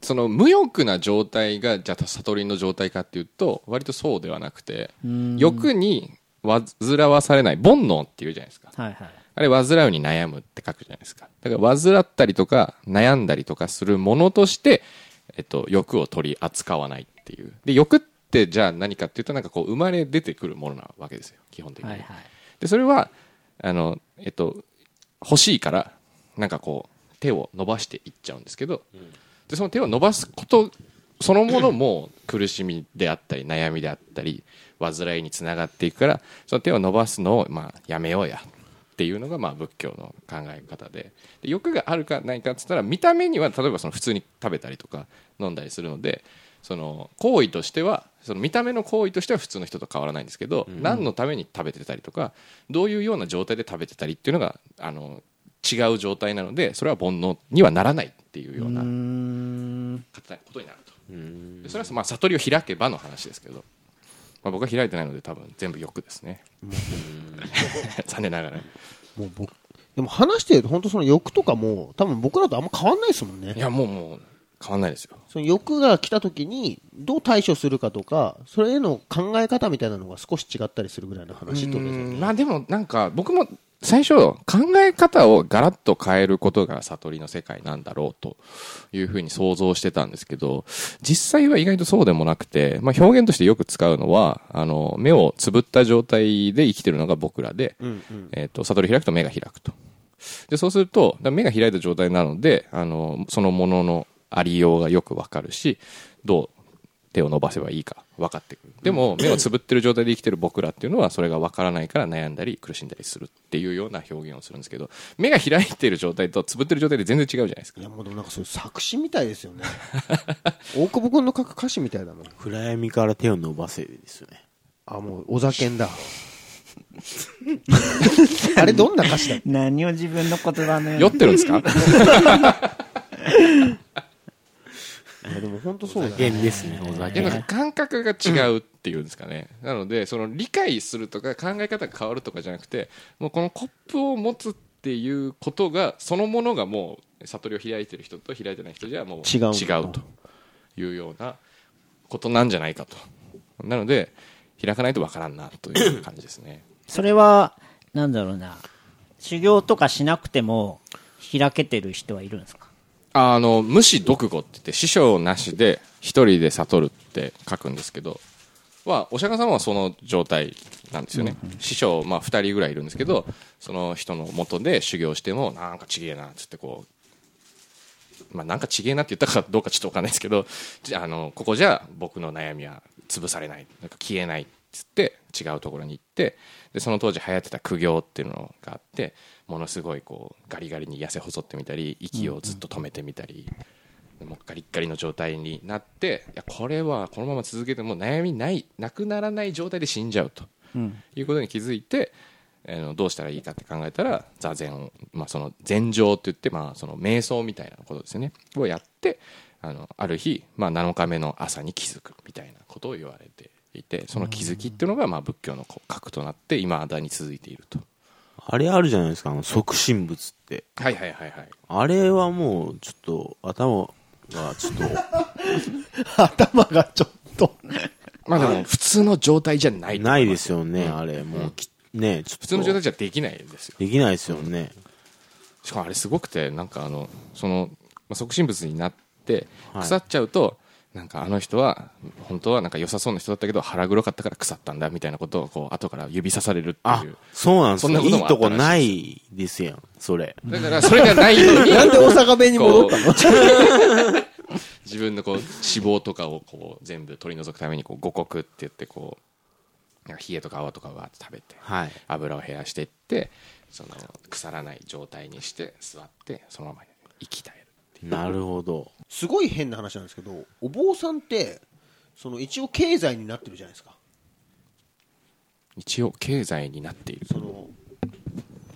S6: その無欲な状態がじゃあ悟りの状態かっていうと割とそうではなくて欲に煩わされない煩悩っていうじゃないですか
S2: はいはい
S6: あれ、煩うに悩むって書くじゃないですか。だから、煩ったりとか、悩んだりとかするものとして、えっと、欲を取り扱わないっていう。で、欲ってじゃあ何かっていうと、なんかこう、生まれ出てくるものなわけですよ、基本的に。
S2: はいはい
S6: で、それは、あの、えっと、欲しいから、なんかこう、手を伸ばしていっちゃうんですけど、で、その手を伸ばすことそのものも苦しみであったり、悩みであったり、煩いにつながっていくから、その手を伸ばすのを、まあ、やめようや。っていうのがまあ仏教の考え方でで欲があるかないかっつったら見た目には例えばその普通に食べたりとか飲んだりするのでその行為としてはその見た目の行為としては普通の人と変わらないんですけど、何のために食べてたりとかどういうような状態で食べてたりっていうのがあの違う状態なのでそれは煩悩にはならないっていうようなことになるとでそれはまあ悟りを開けばの話ですけど、まあ、僕は開いてないので多分全部欲ですね 残念ながら。
S1: もう僕、でも話してると本当その欲とかも多分僕らとあんま変わんないですもんね
S6: い。や、もう、もう、変わんないですよ。
S1: その欲が来た時にどう対処するかとか、それへの考え方みたいなのが少し違ったりするぐらいの話ってことですよね。
S6: まあでも、なんか、僕も最初、考え方をガラッと変えることが悟りの世界なんだろうというふうに想像してたんですけど、実際は意外とそうでもなくて、まあ表現としてよく使うのは、あの、目をつぶった状態で生きてるのが僕らで、えっと、悟り開くと目が開くと。で、そうすると、だから目が開いた状態なので、あの、そのもののありようがよくわかるし、どう手を伸ばせばいいか分かってくる。でも、目をつぶってる状態で生きてる僕らっていうのは、それが分からないから悩んだり苦しんだりするっていうような表現をするんですけど、目が開いてる状態とつぶってる状態で全然違うじゃないですか
S1: い。やもうでもなんかそういう作詞みたいですよね 大久保君の書く歌詞みたいだもん
S3: 暗闇から手を伸ばせですよね
S1: あもうお酒 んだあれどんな歌詞だ
S2: 何を自分の言葉のように
S6: 酔ってるんですか
S1: いやでも本当そうだよ
S3: 原理ですねお
S6: い
S3: 酒
S6: やなんか感覚が違うっていうんですかね、なのでその理解するとか考え方が変わるとかじゃなくてもうこのコップを持つっていうことがそのものがもう悟りを開いてる人と開いてない人じゃもう
S1: 違う
S6: というようなことなんじゃないかとなので開かないとわからんなという感じですね
S2: それはなんだろうな修行とかしなくても開けてる人はいるんですか
S6: あの無視読語って言って師匠なしで一人で悟るって書くんですけどはお釈迦様はその状態なんですよね、師匠、まあ、2人ぐらいいるんですけどその人のもとで修行してもなんかちげえなっつってこうまあ、なんかちげえなって言ったかどうかちょっとわかんないですけどじゃああのここじゃ僕の悩みは潰されないなんか消えないっつって違うところに行ってでその当時流行ってた苦行っていうのがあってものすごいこうガリガリに痩せ細ってみたり息をずっと止めてみたり。もうガリッガリの状態になっていやこれはこのまま続けてもう悩みないなくならない状態で死んじゃうと
S2: うん
S6: いうことに気づいて、あのどうしたらいいかって考えたら座禅、まあ、その禅定って言って、まあ、その瞑想みたいなことですねをやってあのある日、まあ、7日目の朝に気づくみたいなことを言われていてその気づきっていうのが、まあ、仏教のこう核となって今だに続いていると。
S3: あれあるじゃないですか、あの、即身仏って。
S6: はいはいはいはい
S3: あれはもう、ちょっと、頭が、ちょっと、
S5: 頭がちょっと。
S6: まあでも普通の状態じゃない
S3: ないですよね、
S6: うん
S3: あれ。もうき、ねちょっと。
S6: 普通の状態じゃできないですよ
S3: できないですよね。
S6: しかもあれすごくてなんかあのその、まあ、促進物になって
S3: はい
S6: 腐っちゃうと、なんかあの人は本当はなんか良さそうな人だったけど腹黒かったから腐ったんだみたいなことをこう後から指さされるって
S3: あ
S6: いう、
S3: そうなんです
S6: そんな
S3: よ。
S6: こ
S3: い
S6: とも
S3: い
S6: あった
S3: とこ
S6: らしい
S3: ないですやん、それ。
S6: だからそれがないように
S1: なんで大阪弁に 戻ったの
S6: こう自分のこう脂肪とかをこう全部取り除くためにこう五穀って言ってこうなんか冷えとか泡とかわーって食べて、
S3: はい。
S6: 油を減らしていってその腐らない状態にして座ってそのまま生きたえる
S3: なる ほど。
S1: すごい変な話なんですけどお坊さんってその一応経済になってるじゃないですか
S6: 一応経済になっている
S1: その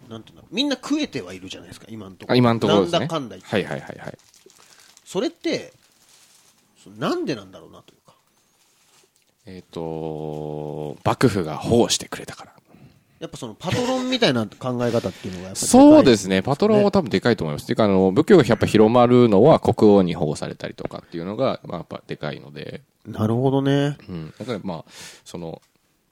S1: なんていうんだろうみんな食えてはいるじゃないですか今のとこ
S6: あ
S1: ろ
S6: 今のところですね
S1: なんだかんだ言って
S6: はいはいはいはい
S1: それってそのなんでなんだろうなというか
S6: えっ、と幕府が保護してくれたから
S1: やっぱそのパトロンみたいな考え方っていうのがやっぱりでかい
S6: そうですねパトロンは多分でかいと思いますていうかあの仏教がやっぱ広まるのは国王に保護されたりとかっていうのが、まあ、やっぱでかいので、
S1: なるほどね
S6: うん、だからまあその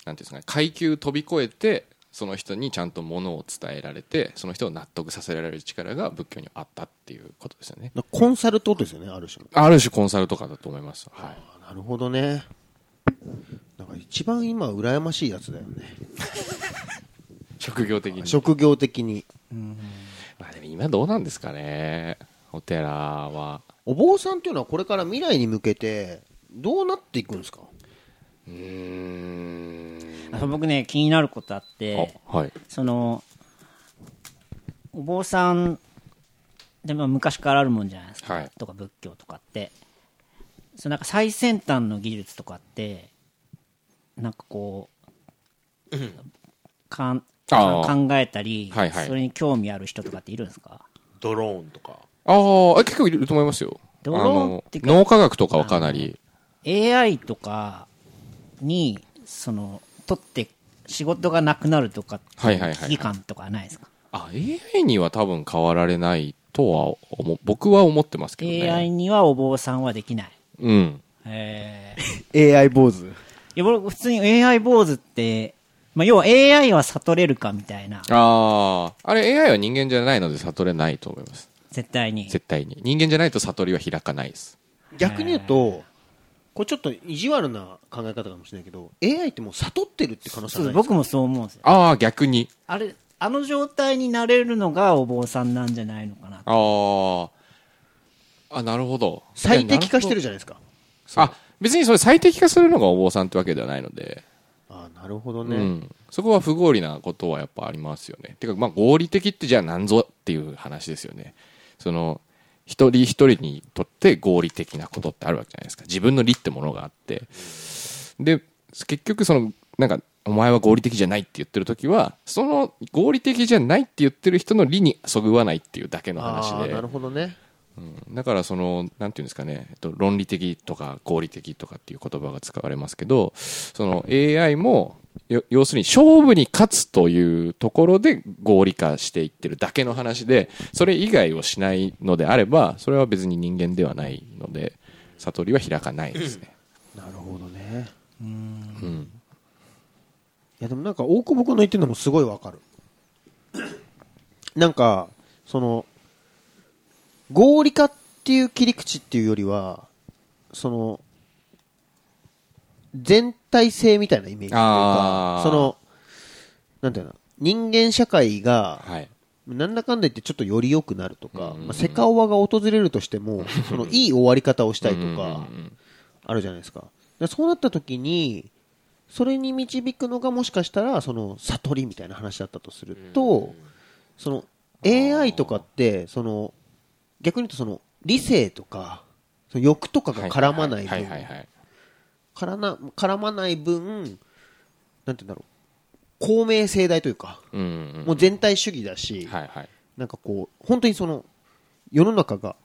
S6: なんていうんですかね階級飛び越えてその人にちゃんとものを伝えられてその人を納得させられる力が仏教にあったっていうことですよね
S1: だからコンサルってことですよねある種の
S6: ある種コンサルとかだと思いますはい
S1: あなるほどねなんか一番今羨ましいやつだよね
S6: 職業的に
S1: 職業的に
S6: まあでも今どうなんですかねお寺は
S1: お坊さんっていうのはこれから未来に向けてどうなっていくんですか
S6: うーん
S2: あ僕ね気になることあって
S6: あはい
S2: そのお坊さんでも昔からあるもんじゃないですか、
S6: はい
S2: とか仏教とかってそのなんか最先端の技術とかってなんかこうかん
S6: あー
S2: 考えたり、
S6: はいはい
S2: それに興味ある人とかっているんですか
S3: ドローンとか。
S6: ああ結構いると思いますよ
S2: ドローン
S6: あの
S2: ってか
S6: 脳科学とかはかなり
S2: AI とかにその取って仕事がなくなるとかって
S6: はいいはいうはいは
S2: 危
S6: い
S2: 機感とかはないですか、
S6: あ AI には多分変わられないとは思う僕は思ってますけどね
S2: AI にはお坊さんはできない
S6: うん
S2: えー
S5: AI 坊主。
S2: いや僕普通に AI 坊主って、まあ、要は AI は悟れるかみたいな
S6: あああれ AI は人間じゃないので悟れないと思います
S2: 絶対に
S6: 絶対に人間じゃないと悟りは開かないです
S1: 逆に言うとこれちょっと意地悪な考え方かもしれないけど AI ってもう悟ってるって可能性
S2: そ
S1: はな
S2: うで
S1: いで
S2: す
S1: すか
S2: 僕もそう思うんですよ
S6: ああ逆に
S2: あれあの状態になれるのがお坊さんなんじゃないのかな
S6: あああなるほど
S1: 最適化してるじゃないですか
S6: あ別にそれ最適化するのがお坊さんってわけではないので
S1: あなるほどね、
S6: うん、そこは不合理なことはやっぱありますよね。てか、まあ、合理的ってじゃあ何ぞっていう話ですよね。その、一人一人にとって合理的なことってあるわけじゃないですか。自分の理ってものがあって。で、結局その、なんか、お前は合理的じゃないって言ってる時は、その合理的じゃないって言ってる人の理にそぐわないっていうだけの話
S1: ああ
S6: で。
S1: なるほどね
S6: だからその、なんていうんですかね、えっと、論理的とか合理的とかっていう言葉が使われますけど、その AI も、よ要するに勝負に勝つというところで合理化していってるだけの話で、それ以外をしないのであれば、それは別に人間ではないので、悟りは開かないですね。
S1: なるほどね
S6: うん。
S1: いやでもなんか大久保君の言ってるのもすごいわかるなんかその合理化っていう切り口っていうよりはその全体性みたいなイメージという
S6: あ
S1: か
S6: ー
S1: そのなんていうの人間社会が
S6: はい。
S1: なんだかんだ言ってちょっとより良くなるとか、まあ、セカオワが訪れるとしても、そのいい終わり方をしたいとか、あるじゃないですか。だからそうなった時に、それに導くのがもしかしたら、その悟りみたいな話だったとすると、その AI とかって、その逆に言うとその理性とか、その欲とかが絡まない
S6: はい
S1: 分
S6: はいはい
S1: 絡な絡まない分、なんて言うんだろう、公明正大というか、
S6: うんうん
S1: もう全体主義だし、
S6: はいはい
S1: なんかこう、本当にその、世の中が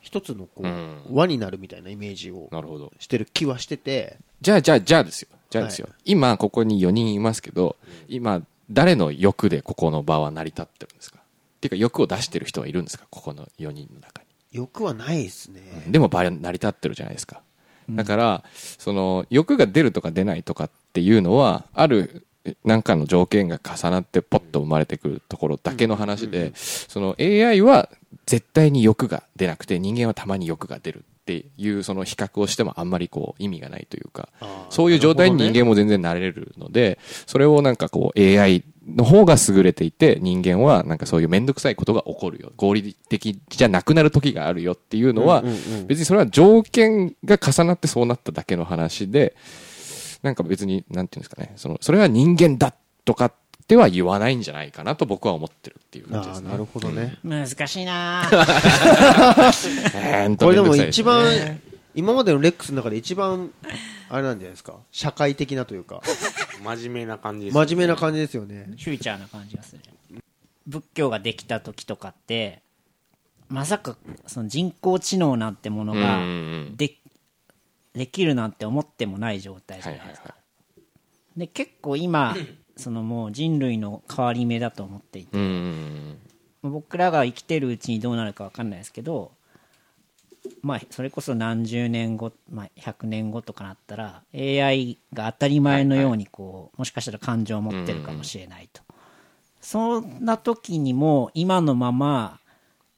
S1: 一つのこう、
S6: うん
S1: 輪になるみたいなイメージを
S6: なるほど
S1: してる気はしてて、
S6: じゃあじゃあじゃあですよじゃあですよ、
S1: は
S6: 今ここに4人いますけど今誰の欲でここの場は成り立ってるんですかっていうか欲を出してる人はいるんですかここの4人の中に
S1: 欲はないですね。
S6: でも場は成り立ってるじゃないですか。だから、その欲が出るとか出ないとかっていうのは、ある何かの条件が重なってポッと生まれてくるところだけの話で、その AI は絶対に欲が出なくて人間はたまに欲が出るっていうその比較をしてもあんまりこう意味がないというか、そういう状態に人間も全然なれるので、それをなんかこう AI の方が優れていて、人間はなんかそういうめんどくさいことが起こるよ。合理的じゃなくなる時があるよっていうのは、別にそれは条件が重なってそうなっただけの話で、なんか別に、なんていうんですかね、その、それは人間だとかっては言わないんじゃないかなと僕は思ってるっていう感じ
S1: あ
S6: で
S1: あ、
S6: すね。
S1: なるほどね。
S2: 難しい なぁ
S6: えーんと
S1: これでも
S6: めんどく
S1: 一
S6: さいすね
S1: 番、今までのレックスの中で一番、あれなんじゃないですか、社会的なというか、
S3: 真面目な感じです、
S1: 真面目な感じですよね。
S2: フューチャーな感じがする仏教ができた時とかってまさかその人工知能なんてものが
S6: うんうんう
S2: で,、できるなんて思ってもない状態じゃないですか、
S6: はいは
S2: で結構今そのもう人類の変わり目だと思っていて
S6: うーん。
S2: 僕らが生きてるうちにどうなるか分かんないですけどまあそれこそ何十年後、まあ、100年後とかなったら AI が当たり前のようにこう、もしかしたら感情を持ってるかもしれないと、そんな時にも今のまま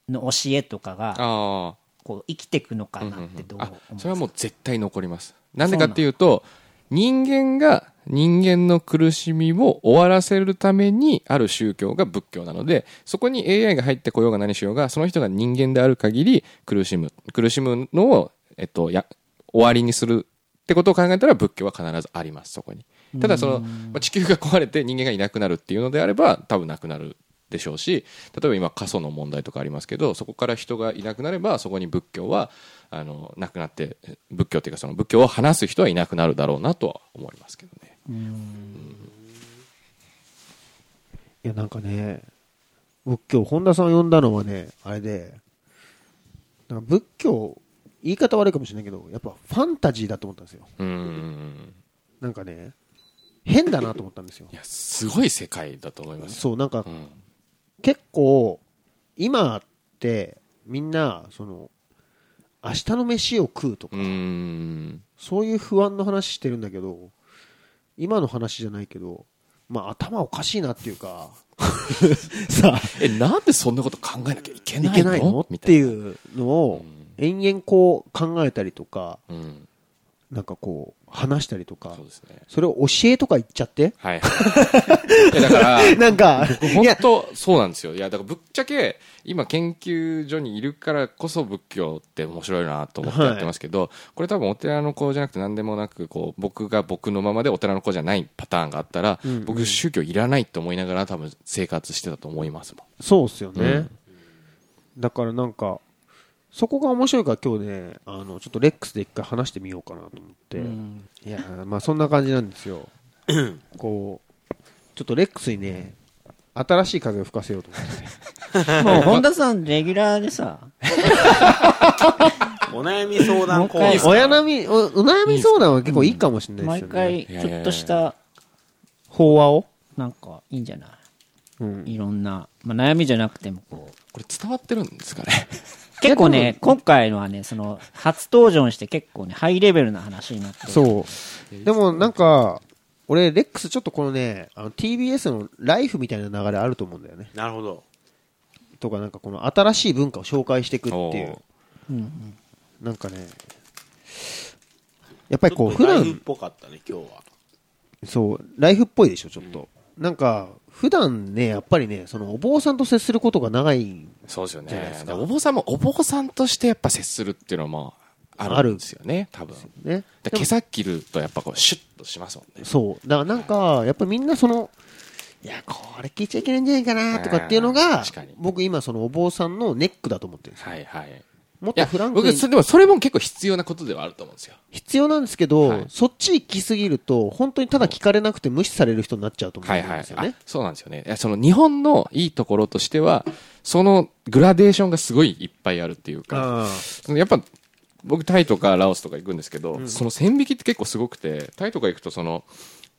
S2: の教えとかが
S6: ああ。
S2: こう生きてくのかなってどう思
S6: あ
S2: いますか、
S6: それはもう絶対残りますなんでかっていうと人間が人間の苦しみを終わらせるためにある宗教が仏教なのでそこに AI が入ってこようが何しようがその人が人間である限り苦しむ苦しむのを、えっと、や終わりにするってことを考えたら仏教は必ずありますそこにただその、まあ地球が壊れて人間がいなくなるっていうのであれば多分なくなるでしょうし例えば今過疎の問題とかありますけどそこから人がいなくなればそこに仏教はあのなくなってえ仏教というかその仏教を話す人はいなくなるだろうなとは思いますけどね。
S1: いや、なんかね、僕今日本田さん呼んだのはね、あれで、なんか仏教、言い方悪いかもしれないけど、やっぱファンタジーだと思ったんですよ。
S6: うん
S1: なんかね、変だなと思ったんですよ
S6: い。やすごい世界だと思います。
S1: そう、なんか
S6: うん
S1: 結構、今ってみんな、その、明日の飯を食うとか
S6: う、ん
S1: そういう不安の話してるんだけど、今の話じゃないけど、まあ頭おかしいなっていうか、さあ、
S6: えなんでそんなこと考えなきゃいけ
S1: い
S6: ない
S1: け
S6: の
S1: ないの
S6: み
S1: ったて
S6: い
S1: い
S6: な。
S1: うのを延々こう考えたりとか、
S6: うん、
S1: なんかこう話したりとか
S6: そう、ですね。
S1: それを教えとか言っちゃって、
S6: はい。 いやだから
S1: なんか、い
S6: 本
S1: や、
S6: 当そうなんですよいやだからぶっちゃけ今研究所にいるからこそ仏教って面白いなと思ってやってますけど、これ多分お寺の子じゃなくて何でもなくこう僕が僕のままでお寺の子じゃないパターンがあったら、僕宗教いらないと思いながら多分生活してたと思いますも
S1: そうっすよね。
S6: うん
S1: だからなんか、そこが面白いから今日ね、あの、ちょっとレックスで一回話してみようかなと思って、いやー、まあそんな感じなんです よ。こう、ちょっとレックスにね、新しい風を吹かせようと思って。
S2: もう本田さんレギュラーでさ
S3: お悩み相談コーナ
S2: もう一回
S3: ー
S1: 親悩み、おお悩み相談は結構いいかもしれない
S2: 毎
S1: ですよね。
S2: 回ちょっとした
S1: 法話を
S2: なんかいいんじゃな
S1: うん。
S2: いいろんな、まあ、悩みじゃなくてもこう
S6: これ伝わってるんですか ね
S2: 結構ね、今回のはね、その、初登場にして結構ね、ハイレベルな話になって。う。
S1: そう。でもなんか、俺、レックスちょっとこのね、あの TBS のライフみたいな流れあると思うんだよね。
S3: なるほど
S1: とかなんかこの新しい文化を紹介していくってい
S6: お
S1: う
S6: う。
S1: なんかね、やっぱりこう、
S3: ち
S1: 普
S3: ょっとライフっ
S1: 段、
S3: ぽかったね今日は
S1: そう、ライフっぽいでしょ、ちょっと。なんか、普段ね、やっぱりね、そのお坊さんと接することが長い、
S6: そうですよ
S1: じゃないです
S6: ね
S1: か
S6: でお坊さんもお坊さんとしてやっぱ接するっていうのもあるんですよね多分
S1: ね。
S6: で毛先切るとやっぱこうシュッとしますもんね
S1: そう。だからなんか、やっぱみんなその、いや、これ聞いちゃいけないんじゃないかなとかっていうの
S6: う
S1: が
S6: ん確かに、
S1: 僕今そのお坊さんのネックだと思ってるんですよ。
S6: はいはい
S1: もっ
S6: い
S1: と
S6: や
S1: フランク
S6: 僕
S1: に
S6: それでもそれも結構必要なことではあると思うんですよ
S1: 必要なんですけど、
S6: はい
S1: そっち行きすぎると、本当にただ聞かれなくて無視される人になっちゃうと思う
S6: は
S1: ん
S6: いは
S1: で
S6: い
S1: すよね。
S6: あそうなんですよねいやその日本のいいところとしてはそのグラデーションがすごいいっぱいあるっていうか
S1: あ
S6: そのやっぱ僕タイとかラオスとか行くんですけど、その線引きって結構すごくてタイとか行くとその、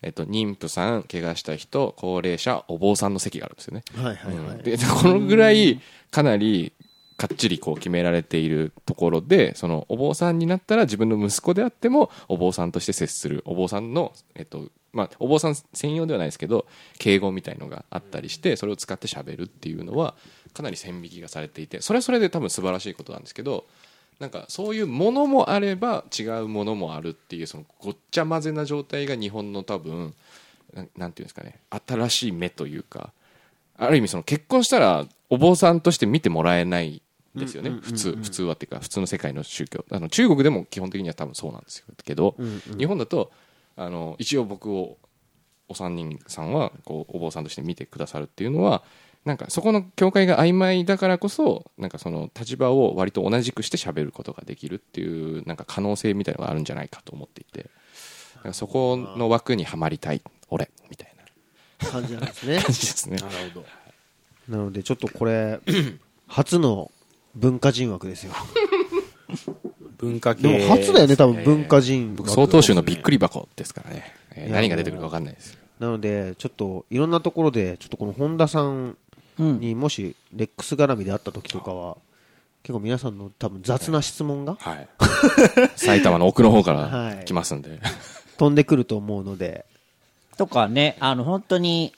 S6: えっと、妊婦さん怪我した人高齢者お坊さんの席があるんですよね、
S1: あはいはいは
S6: うん
S1: い。
S6: でこのぐらいかなりかっちりこう決められているところでそのお坊さんになったら自分の息子であってもお坊さんとして接するお坊さんの、えっとまあ、お坊さん専用ではないですけど敬語みたいのがあったりしてそれを使って喋るっていうのはかなり線引きがされていてそれはそれで多分素晴らしいことなんですけどなんかそういうものもあれば違うものもあるっていうそのごっちゃ混ぜな状態が日本の多分ななんていうんですかね新しい目というかある意味その結婚したらお坊さんとして見てもらえないですよね、普通普通はっていうか普通の世界の宗教あの中国でも基本的には多分そうなんですよけど、日本だとあの一応僕をお三人さんはこうお坊さんとして見てくださるっていうのはなんかそこの境界が曖昧だからこそなんかその立場を割と同じくして喋ることができるっていうなんか可能性みたいなのがあるんじゃないかと思っていてなんかそこの枠にはまりたい俺みたいな
S1: 感じなんです ね。
S6: 感じですね。
S1: なので、ちょっとこれ、初の文化人枠ですよ。
S3: 文化系
S1: でも初だよね、多分文化人枠。
S6: 総統集のびっくり箱ですからね、えー
S1: いや
S6: 何が出てくるか分かんないです
S1: なので、ちょっといろんなところで、ちょっとこの本田さんにもしレックス絡みで会った時とかは、結構皆さんの多分雑な質問が
S6: はい埼玉の奥の方から
S1: はい
S6: 来ますんで、
S1: 飛んでくると思うので、
S2: とかね、あの、本当に、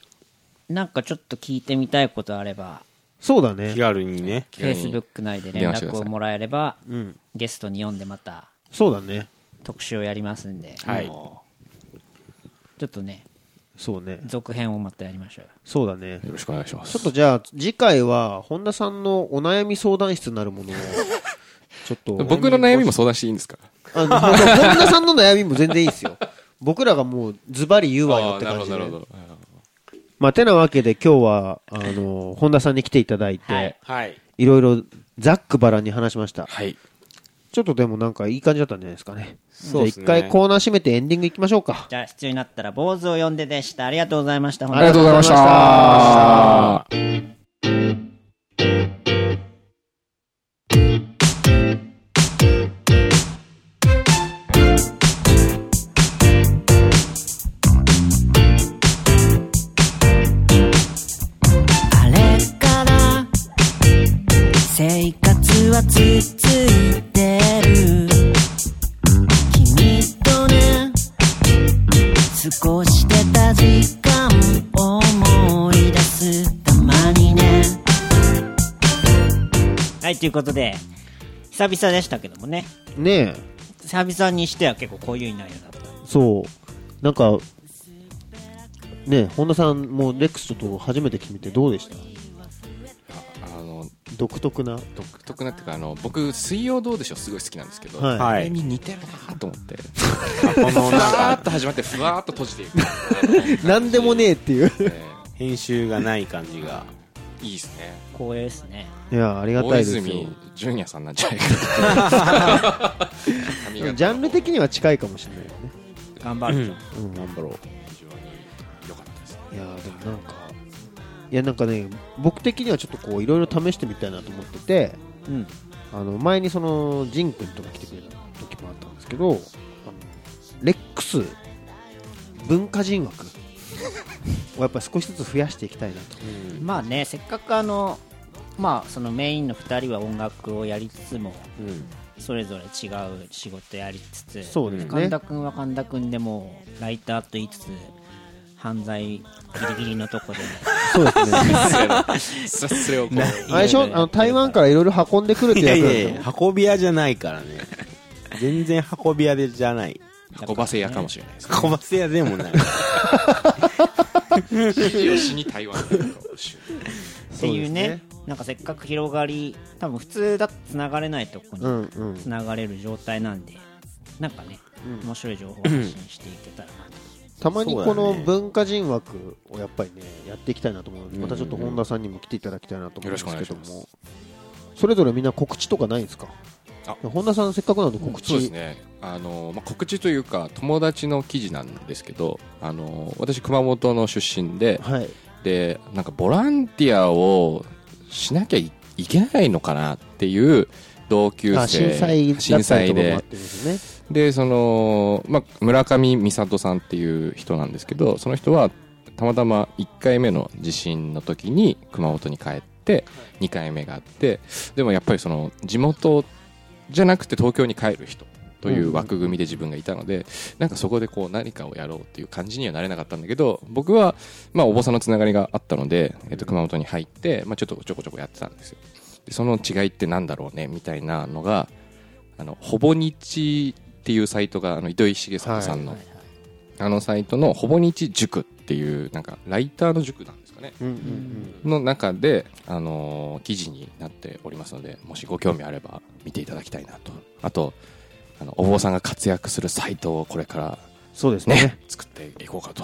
S2: なんかちょっと聞いてみたいことあれば、
S1: そうだ
S3: 気
S1: ね。
S3: 軽にね
S6: 気軽に
S2: Facebook 内で連
S6: 電話してく
S2: 絡
S6: ださ
S2: を
S6: い
S2: もらえれば、
S1: ん
S2: ゲストに読んでまた
S1: そうだね。
S2: 特集をやりますんで、
S6: はい
S2: もうちょっとね、
S1: そうね。
S2: 続編をまたやりましょうよ。
S1: そうだね。
S6: よろしくお願いします
S1: ちょっとじゃあ、次回は、本田さんのお悩み相談室なるものを、ちょっ と。
S6: 僕の悩みも相談していいんですか
S1: あの本田さんの悩みも全然いいです よ。僕らがもう、ズバリ言うわよ
S6: あ
S1: っ
S6: ー
S1: て
S6: なる
S1: 感じ
S6: ほど
S1: で
S6: な。るほど
S1: まあ、てなわけで今日は、あの、本田さんに来ていただいて、
S2: はい
S1: い、
S3: はい
S1: ろいろざっくばらんに話しました。
S6: はい
S1: ちょっとでもなんかいい感じだったんじゃないですかね。
S3: そうですね
S1: じゃあ一回コーナー閉めてエンディングいきましょうか。
S2: じゃあ、必要になったら、坊主を呼んででした。ありがとうございました。
S1: ありがとうございました。
S7: あれから生活は続いてる君とね過ごしてた時間を思い出すたまにね
S2: はい、ということで、久々でしたけどもね、
S1: ねえ、
S2: 久々にしては結構こういう内容だった。
S1: そう。なんか、ねえ、本田さんもレックスと初めて決めてどうでした
S6: あの
S1: 独特 な。
S6: 独特なっていうかあの僕「水曜どうでしょう」すごい好きなんですけど、
S1: はい
S6: あれに似てるなと思って
S3: この
S6: ふ
S3: なん
S6: わー
S3: か
S6: っと始まってふわーっと閉じていく
S1: なんでもねえっていう。
S6: え
S3: 編集がない感じが
S6: ーいいですね
S2: 光栄ですね。
S1: いや、ありがた
S6: 大
S1: いですよ。
S6: 泉
S1: ジ
S6: 純也さんなんじゃないかな髪型も
S1: ャンル的には近いかもしれないよね。
S2: 頑張るぞ。
S3: 頑張ろう
S6: 非常に良かったです
S1: いやーでもなんかいやなんかね僕的にはちょっとこういろいろ試してみたいなと思ってて
S2: うん。
S1: あの前にそのジン君とか来てくれた時もあったんですけどあのレックス文化人枠をやっぱり少しずつ増やしていきたいなと
S2: まあね、せっかくあの、まあ、そのメインの2人は音楽をやりつつも、それぞれ違う仕事やりつつ、
S1: そうですね
S2: 神田君は神田君でもうライターと言いつつ、犯罪ギリギリのとこで、
S1: そう ですね
S6: スレスレをこう
S1: あれでしょあの台湾からいろいろ運んでくるって
S3: い
S1: や
S3: や
S1: つ
S3: い
S1: なん
S3: や
S1: で
S3: い
S1: しょ
S3: や運び屋じゃないからね全然運び屋でじゃない
S6: 運ばせ屋かもしれないですね
S3: 運ばせ屋でもない
S6: よしに台湾だよ
S2: っていうねなんかせっかく広がり多分普通だとつながれないとこ
S1: う
S2: に
S1: んうん
S2: つながれる状態なんで、なんかね、面白い情報を発信していけたらな
S1: たまに
S3: そうだ
S1: こ
S3: ね
S1: の文化人枠をやっぱりねやっていきたいなと思うのでまたちょっと本田さんにも来ていただきたいなと思うんですけど
S6: よろしくお願
S1: もそれぞれみんな告知とかないんですか
S6: あ
S1: 本田さんせっかくなので告
S6: そうです
S1: 知
S6: ねあの、まあ、告知というか友達の記事なんですけどあの私熊本の出身で
S1: はい
S6: でなんかボランティアをしなきゃいいけないのかなっていう同級生
S1: あ震災だ
S6: 震
S1: ったり
S6: 災
S1: とかもあっ
S6: で
S1: てですね
S6: でその、まあ、村上美里さんっていう人なんですけどその人はたまたま1回目の地震の時に熊本に帰って2回目があってでもやっぱりその地元じゃなくて東京に帰る人という枠組みで自分がいたので、なんかそこでこう何かをやろうっていう感じにはなれなかったんだけど僕はまあお坊さんのつながりがあったので、えっと、熊本に入って、まあ、ちょっとちょこちょこやってたんですよでその違いってなんだろうねみたいなのがあのほぼ日っていうサイトがあの糸井重里さんの、あのサイトのほぼ日塾っていうなんかライターの塾なんですかね
S1: うんうん
S6: の中で、あのー記事になっておりますのでもしご興味あれば見ていただきたいなとあとあのお坊さんが活躍するサイトをこれから
S1: そうです
S6: ね
S1: ね
S6: 作っていこうかと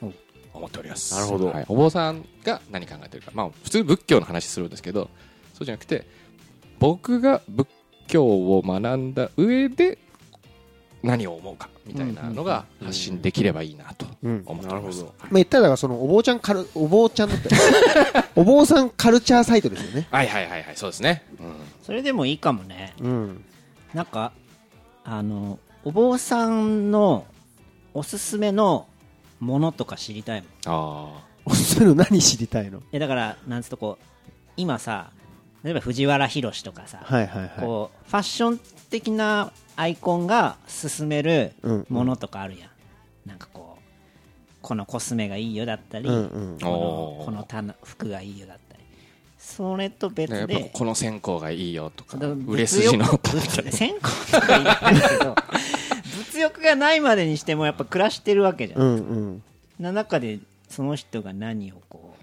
S2: うん
S6: 思っております
S1: なるほど
S6: はい、お坊さんが何考えてるか、まあ、普通仏教の話するんですけどそうじゃなくて僕が仏教を学んだ上で何を思うかみたいなのが発信できればいいなと
S1: うん
S6: 思っております、はい
S1: まあ言ったらだからそのお坊ちゃんカルお坊ちゃんだ ったよお坊さんカルチャーサイトですよね
S6: はいはいはいはいそうですね、
S2: それでもいいかもね
S1: うん
S2: なんかあのお坊さんのおすすめのものとか知りたいもん
S6: あ
S1: おすすめの何知りたいの
S2: えだからなんつうとこう今さ例えば藤原宏とかさ、
S1: はいはいは
S2: こうファッション的なアイコンが勧める
S1: うん
S2: ものとかあるやん、なんかこうこのコスメがいいよだった
S1: い
S2: り、
S1: うんうん
S6: あ
S2: このこの
S6: お
S2: 棚服がいいよだったりそれと別
S6: ーやっぱ
S2: で
S6: この線香がいいよとか
S2: その
S6: 売れ筋の
S2: 物欲 物線香とか言うんだけど物欲がないまでにしてもやっぱ暮らしてるわけじゃん、
S1: うんうん
S2: な中でその人が何をこ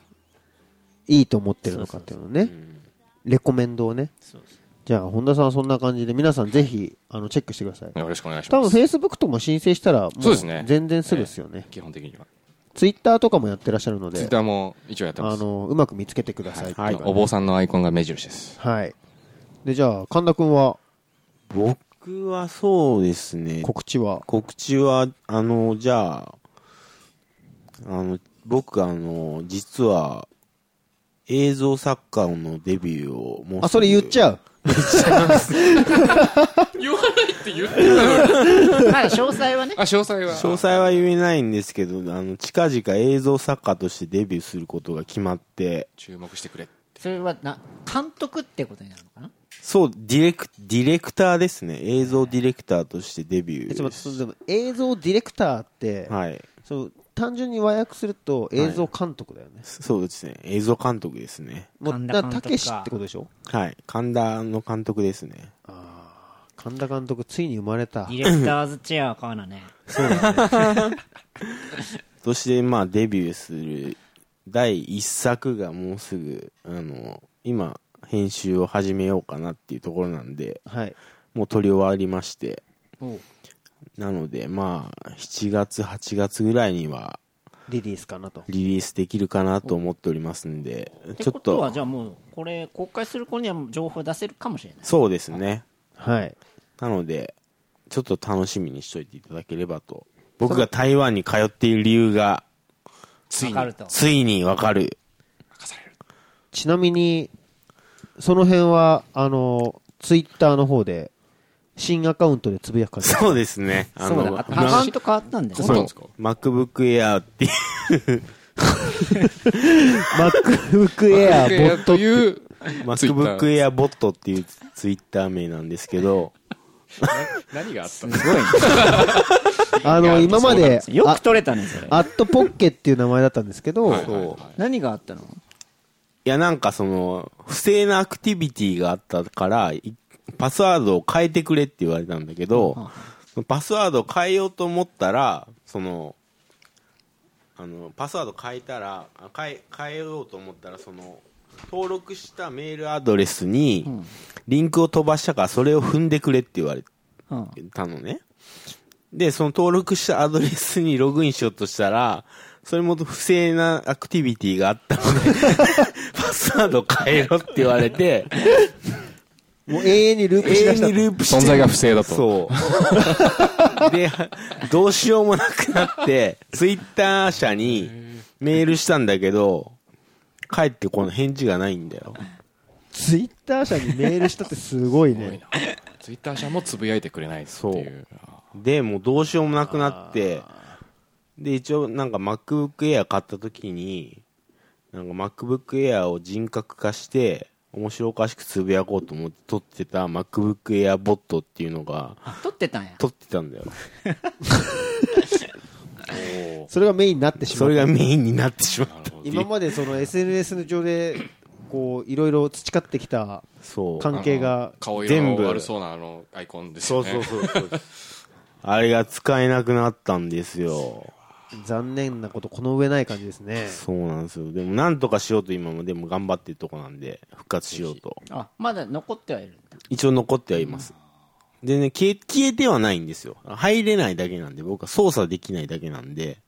S2: う
S1: いいと思ってるのかっていうのねレコメンドをねじゃあ本田さんはそんな感じで皆さんぜひあのチェックしてください
S6: よろしくお願いし
S1: 多
S6: ま
S1: 分
S6: す
S1: フェイスブックとも申請したらも
S6: そうですね
S1: 全然すぐですよね
S6: 基本的には
S1: ツイッターとかもやってらっしゃるの
S6: ツイッ
S1: で
S6: ターも一応やってま
S1: あ
S6: す
S1: のうまく見つけてくださいって
S6: はい
S1: いうかね
S6: お坊さんのアイコンが目印 です
S1: はいでじゃあ神田君は
S3: 僕はそうですね。
S1: 告知は
S3: 告知は、あの、じゃあ、あの、僕、あの、実は、映像作家のデビューをもう
S1: あそれ言っち
S3: ゃ
S1: ゃう
S2: まだ詳細はね
S6: あ詳細は
S3: 詳細は言えないんですけど、あの、近々映像作家としてデビューすることが決まって、
S6: 注目してくれ
S2: それはな監督ってことになるのかな
S3: そう、ディレク、ディレクターですね。映像ディレクターとしてデビュー
S1: え
S3: で
S1: ち
S3: す。
S1: ょっと待ってそのでも映像ディレクターって、
S3: はい。
S1: そう単純に和訳すると映像監督だよね、
S3: そうですね。映像監督ですね。
S1: もう
S2: 神田
S1: だ
S2: 監
S1: から
S2: 督
S1: た
S2: か
S1: けしってことでしょ
S3: はい。神田の監督ですね。
S1: 神田監督ついに生まれた
S2: ディレクターズチェアを買うのね
S3: そして、まあ、デビューする第一作がもうすぐ、あの、今、編集を始めようかなっていうところなんで、
S1: はい
S3: もう撮り終わりまして。なので、まあ、7月、8月ぐらいには
S1: リリースかなと
S3: リリースできるかなと思っておりますんで、
S2: って
S3: ちょ
S2: こ
S3: っ
S2: とはじ
S3: と、
S2: ゃあもうこれ公開する子にはもう情報出せるかもしれない
S3: そうですね。
S1: はい
S3: なので、ちょっと楽しみにしといていただければと。僕が台湾に通っている理由が、つい
S2: わか
S3: に
S2: ると、
S3: ついにわかる。
S1: ちなみにその辺はあのツイッターの方で新アカウントでつぶやく感じ
S3: そうですね。あ
S2: そうだアカウント変わったんだよ
S6: そうなんですか
S3: MacBook Air っていう
S1: MacBook Air ボット
S6: という
S3: MacBook Air ボットっていうツイッター名なんですけど、
S6: 何があった
S1: あの今まで
S2: よく取れたねそれ
S1: アットポッケっていう名前だったんですけど、
S2: 何があったの
S3: いやなんかその、不正なアクティビティがあったから、いパスワードを変えてくれって言われたんだけど、パスワードを変えようと思ったら、その、あのパスワード変えたらあ変え変えようと思ったらその登録したメールアドレスにリンクを飛ばしたからそれを踏んでくれって言われ
S2: うん
S3: たのねでその登録したアドレスにログインしようとしたらそれも不正なアクティビティがあったので パスワード変えろって言われて
S1: もう永遠にループ
S3: 永
S1: しだし
S3: 遠
S1: た
S3: にループして
S6: 存在が不正だと
S3: そう。で、どうしようもなくなって、ツイッター社にメールしたんだけど、帰ってこの返事がないんだよ。
S1: ツイッター社にメールしたってすごいね
S6: ツイッター社もつぶやいてくれないっていう
S3: で、もうどうしようもなくなって、で、一応なんか MacBook Air 買った時に、なんか MacBook Air を人格化して、面白おかしくつぶやこうと思って撮ってた MacBook Air ボットっていうのが、
S2: あ撮ってたんや
S3: 撮ってたんだよ。
S1: それがメインになってしま
S3: そうれがメインになってしまった。
S1: 今までその SNS の上でこういろいろ培ってきた
S3: そう。
S1: 関係が
S6: 顔色
S3: 全
S6: の
S3: 部
S6: 悪そうなあのアイコンです
S3: そ
S6: よ
S3: う
S6: ね
S3: そう そうそう。 あれが使えなくなったんですよ。
S1: 残念なことこの上ない感じですね
S3: そうなんですよ。でも、なんとかしようと今も、でも頑張ってるとこなんで、復活しようと。
S2: あまだ残ってはいるんだ
S3: 一応残ってはいます。でね、消え、消えてはないんですよ。入れないだけなんで、僕は操作できないだけなんで、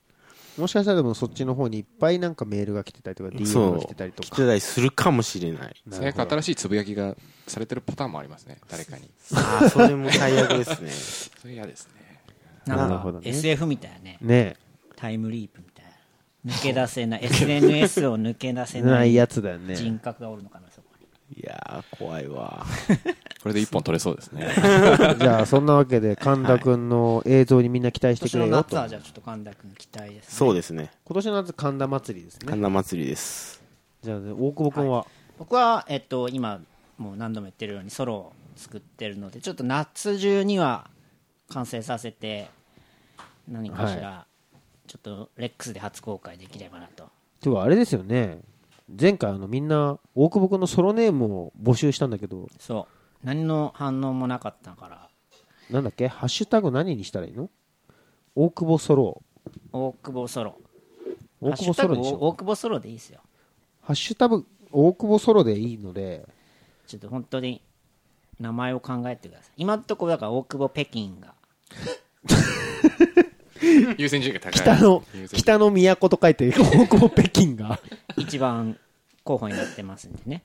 S1: もしかしたらでもそっちの方にいっぱいなんかメールが来てたりとか DM
S3: そ
S1: が
S3: う、
S1: 来てたりと
S3: 来て
S1: か
S3: たりするかもしれない。
S6: 最悪新しいつぶやきがされてるパターンもありますね誰かに
S3: ああ、それも最悪ですね。
S6: それ嫌ですね
S2: な
S1: なんるほ
S2: か
S1: どね
S2: SF みたいなね
S1: ね
S2: タイムリープみたいな抜け出せない SNS を抜け出せ
S1: え
S2: な
S1: ないいやつだよね
S2: 人格がおるのかなそこに
S3: いやー、怖いわ。
S6: これで一本取れそうですね
S1: じゃあそんなわけで神田くんの映像にみんな期待し
S2: 今
S1: て
S2: 年
S1: くれ
S2: の
S1: よ
S2: 夏
S1: と
S2: はじゃあちょっと神田君期待ですね
S3: そうですね。
S1: 今年の夏神田祭りですね
S3: 神田祭りです。
S1: じゃあね大久保くんは
S2: 僕は、えっと、今もう何度も言ってるようにソロを作ってるのでちょっと夏中には完成させて何かしら、ちょっとレックスで初公開できればなと
S1: てかあれですよね前回あのみんな大久保くんのソロネームを募集したんだけど
S2: そう何の反応もなかったから
S1: なんだっけハッシュタグ何にしたらいいの大久保ソロ
S2: 大久保ソロ
S1: 大久保ソロにし
S2: ハッシュ
S1: よう
S2: タグ大久保ソロでいいですよ
S1: ハッシュタグ大久保ソロでいいので
S2: ちょっと本当に名前を考えてください今のところだから大久保北京が
S6: 優先順位が高い
S1: 北の
S6: 優先順位
S1: 北の都と書いて大久保北京が
S2: 一番候補になってますんでね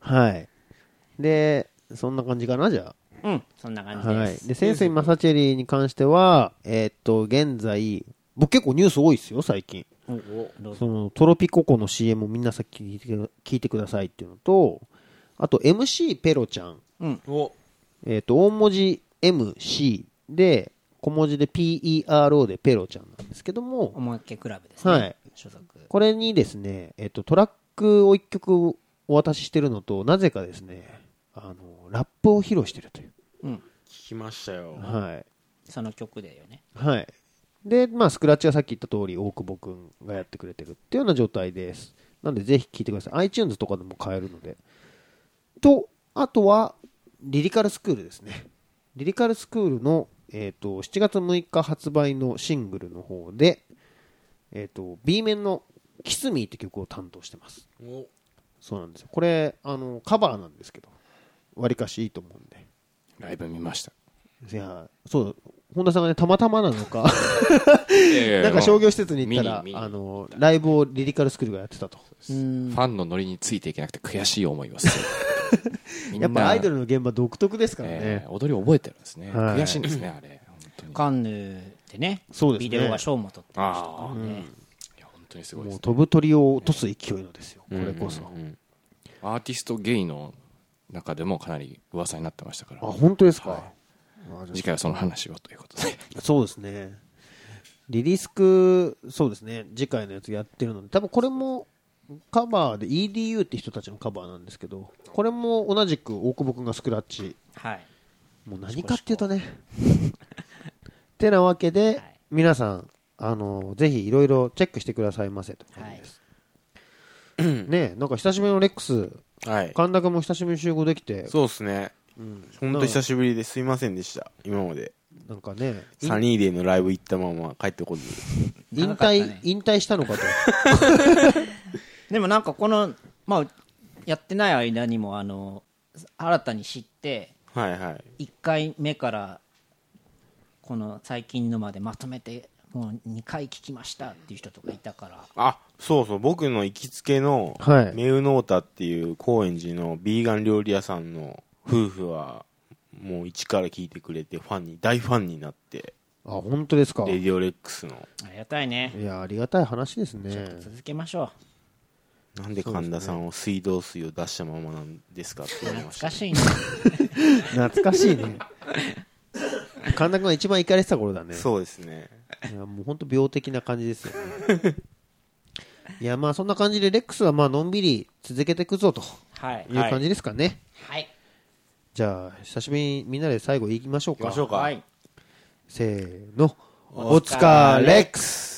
S1: はいでそんな感じかなじゃあ
S2: うんそんな感じです、
S1: はい。で、潜水マサチェリーに関しては、えーっと、現在、僕結構ニュース多いですよ、最近。
S2: おおどうぞ
S1: その、トロピココの CM をみんなさっき聞いてく聞いてくださいっていうのと、あと MC ペロちゃん。
S2: うん
S1: えーっと、大文字 MC で、小文字で PERO でペロちゃんなんですけども、
S2: 思いっきりクラブですね、
S1: はい
S2: 所属
S1: これにですね、えーっと、トラックを1曲お渡ししてるのと、なぜかですね、あの、ラップを披露してるという。
S3: 聞きましたよ。
S1: はい。
S2: その曲でよね
S1: はい。で、まあ、スクラッチはさっき言った通り、大久保くんがやってくれてるっていうような状態です。なんで、ぜひ聴いてください。iTunes とかでも買えるので。と、あとは、リリカルスクールですね。リリカルスクールの、えっ、と、7月6日発売のシングルの方で、えっ、と、B 面の Kiss Me って曲を担当してます。そうなんですよ。これ、あの、カバーなんですけど、わりかしいいと思うんで。
S6: ライブ見ました
S1: いや、そう、本田さんがね、たまたまなのか、なんか商業施設に行ったら
S6: 見に、見に
S1: あの、ライブをリリカルスクールがやってたと。
S6: ファンのノリについていけなくて悔しい思いをす る
S1: やっぱアイド
S6: ル
S1: ルの現場独特ですからね。
S6: 踊り覚えてるんですね
S1: はい
S6: 悔しいんですねあれ本当に
S2: カンヌでね
S1: そうですね
S2: ビデオが賞も取ってました
S6: ああ
S2: からね
S6: いや本当にすごいで
S1: もう
S6: す
S1: 飛ぶ鳥を落とす勢いのですよ、これこそ。
S6: アーティストゲイの中でもかなり噂になってましたから
S1: あ、本当ですか。
S6: 次回はその話をということで
S1: そうですね。リリスク、そうですね、次回のやつやってるので、多分これもカバーで EDU って人たちのカバーなんですけど、これも同じく大久保くんがスクラッチ
S2: はい
S1: もう何かっていうとね。 てなわけで、
S2: い
S1: 皆さん、あの、ぜひいろいろチェックしてくださいませということです。ねえなんか久しぶりのレックス、
S3: はい。
S1: 神田君も久しぶりに集合できて、
S3: そうですね。本当久しぶりですいませんでした。今まで。
S1: なんかね、引
S3: サニーデイのライブ行ったまま帰ってこず。
S1: 引
S2: 長かった
S1: 退
S2: ね、
S1: 引退したのかと。
S2: でもなんかこの、まあ、やってない間にもあの新たに知って
S3: はいはい。
S2: 1回目からこの最近のまでまとめてもう2回聞きましたっていう人とかいたから
S3: あ、そうそう、僕の行きつけの、
S1: はい
S3: メウノータっていう高円寺のビーガン料理屋さんの夫婦は、もう一から聞いてくれて、ファンに、大ファンになって、
S1: あ、本当ですか。
S3: レ
S1: い
S3: ディオレックスの、
S2: ありがたいね
S1: や、ありがたい話ですね。
S2: 続けましょ
S3: なんで神田さんを水道水を出したままなんですかって
S2: う
S3: 言われま
S2: 懐
S3: した
S2: か
S3: ね。
S2: しいね
S1: 懐かしいね。神田君が一番怒りてた頃だね。
S3: そうですね。
S1: いや、もう本当病的な感じですよね。いや、まあそんな感じで、レックスはまあのんびり続けていくぞと
S2: はい
S1: いう感じですかね。
S2: はい
S1: じゃあ、久しぶりにみんなで最後言いましょうか。
S3: 行きましょうか
S2: はい
S1: せーの。おつかレックス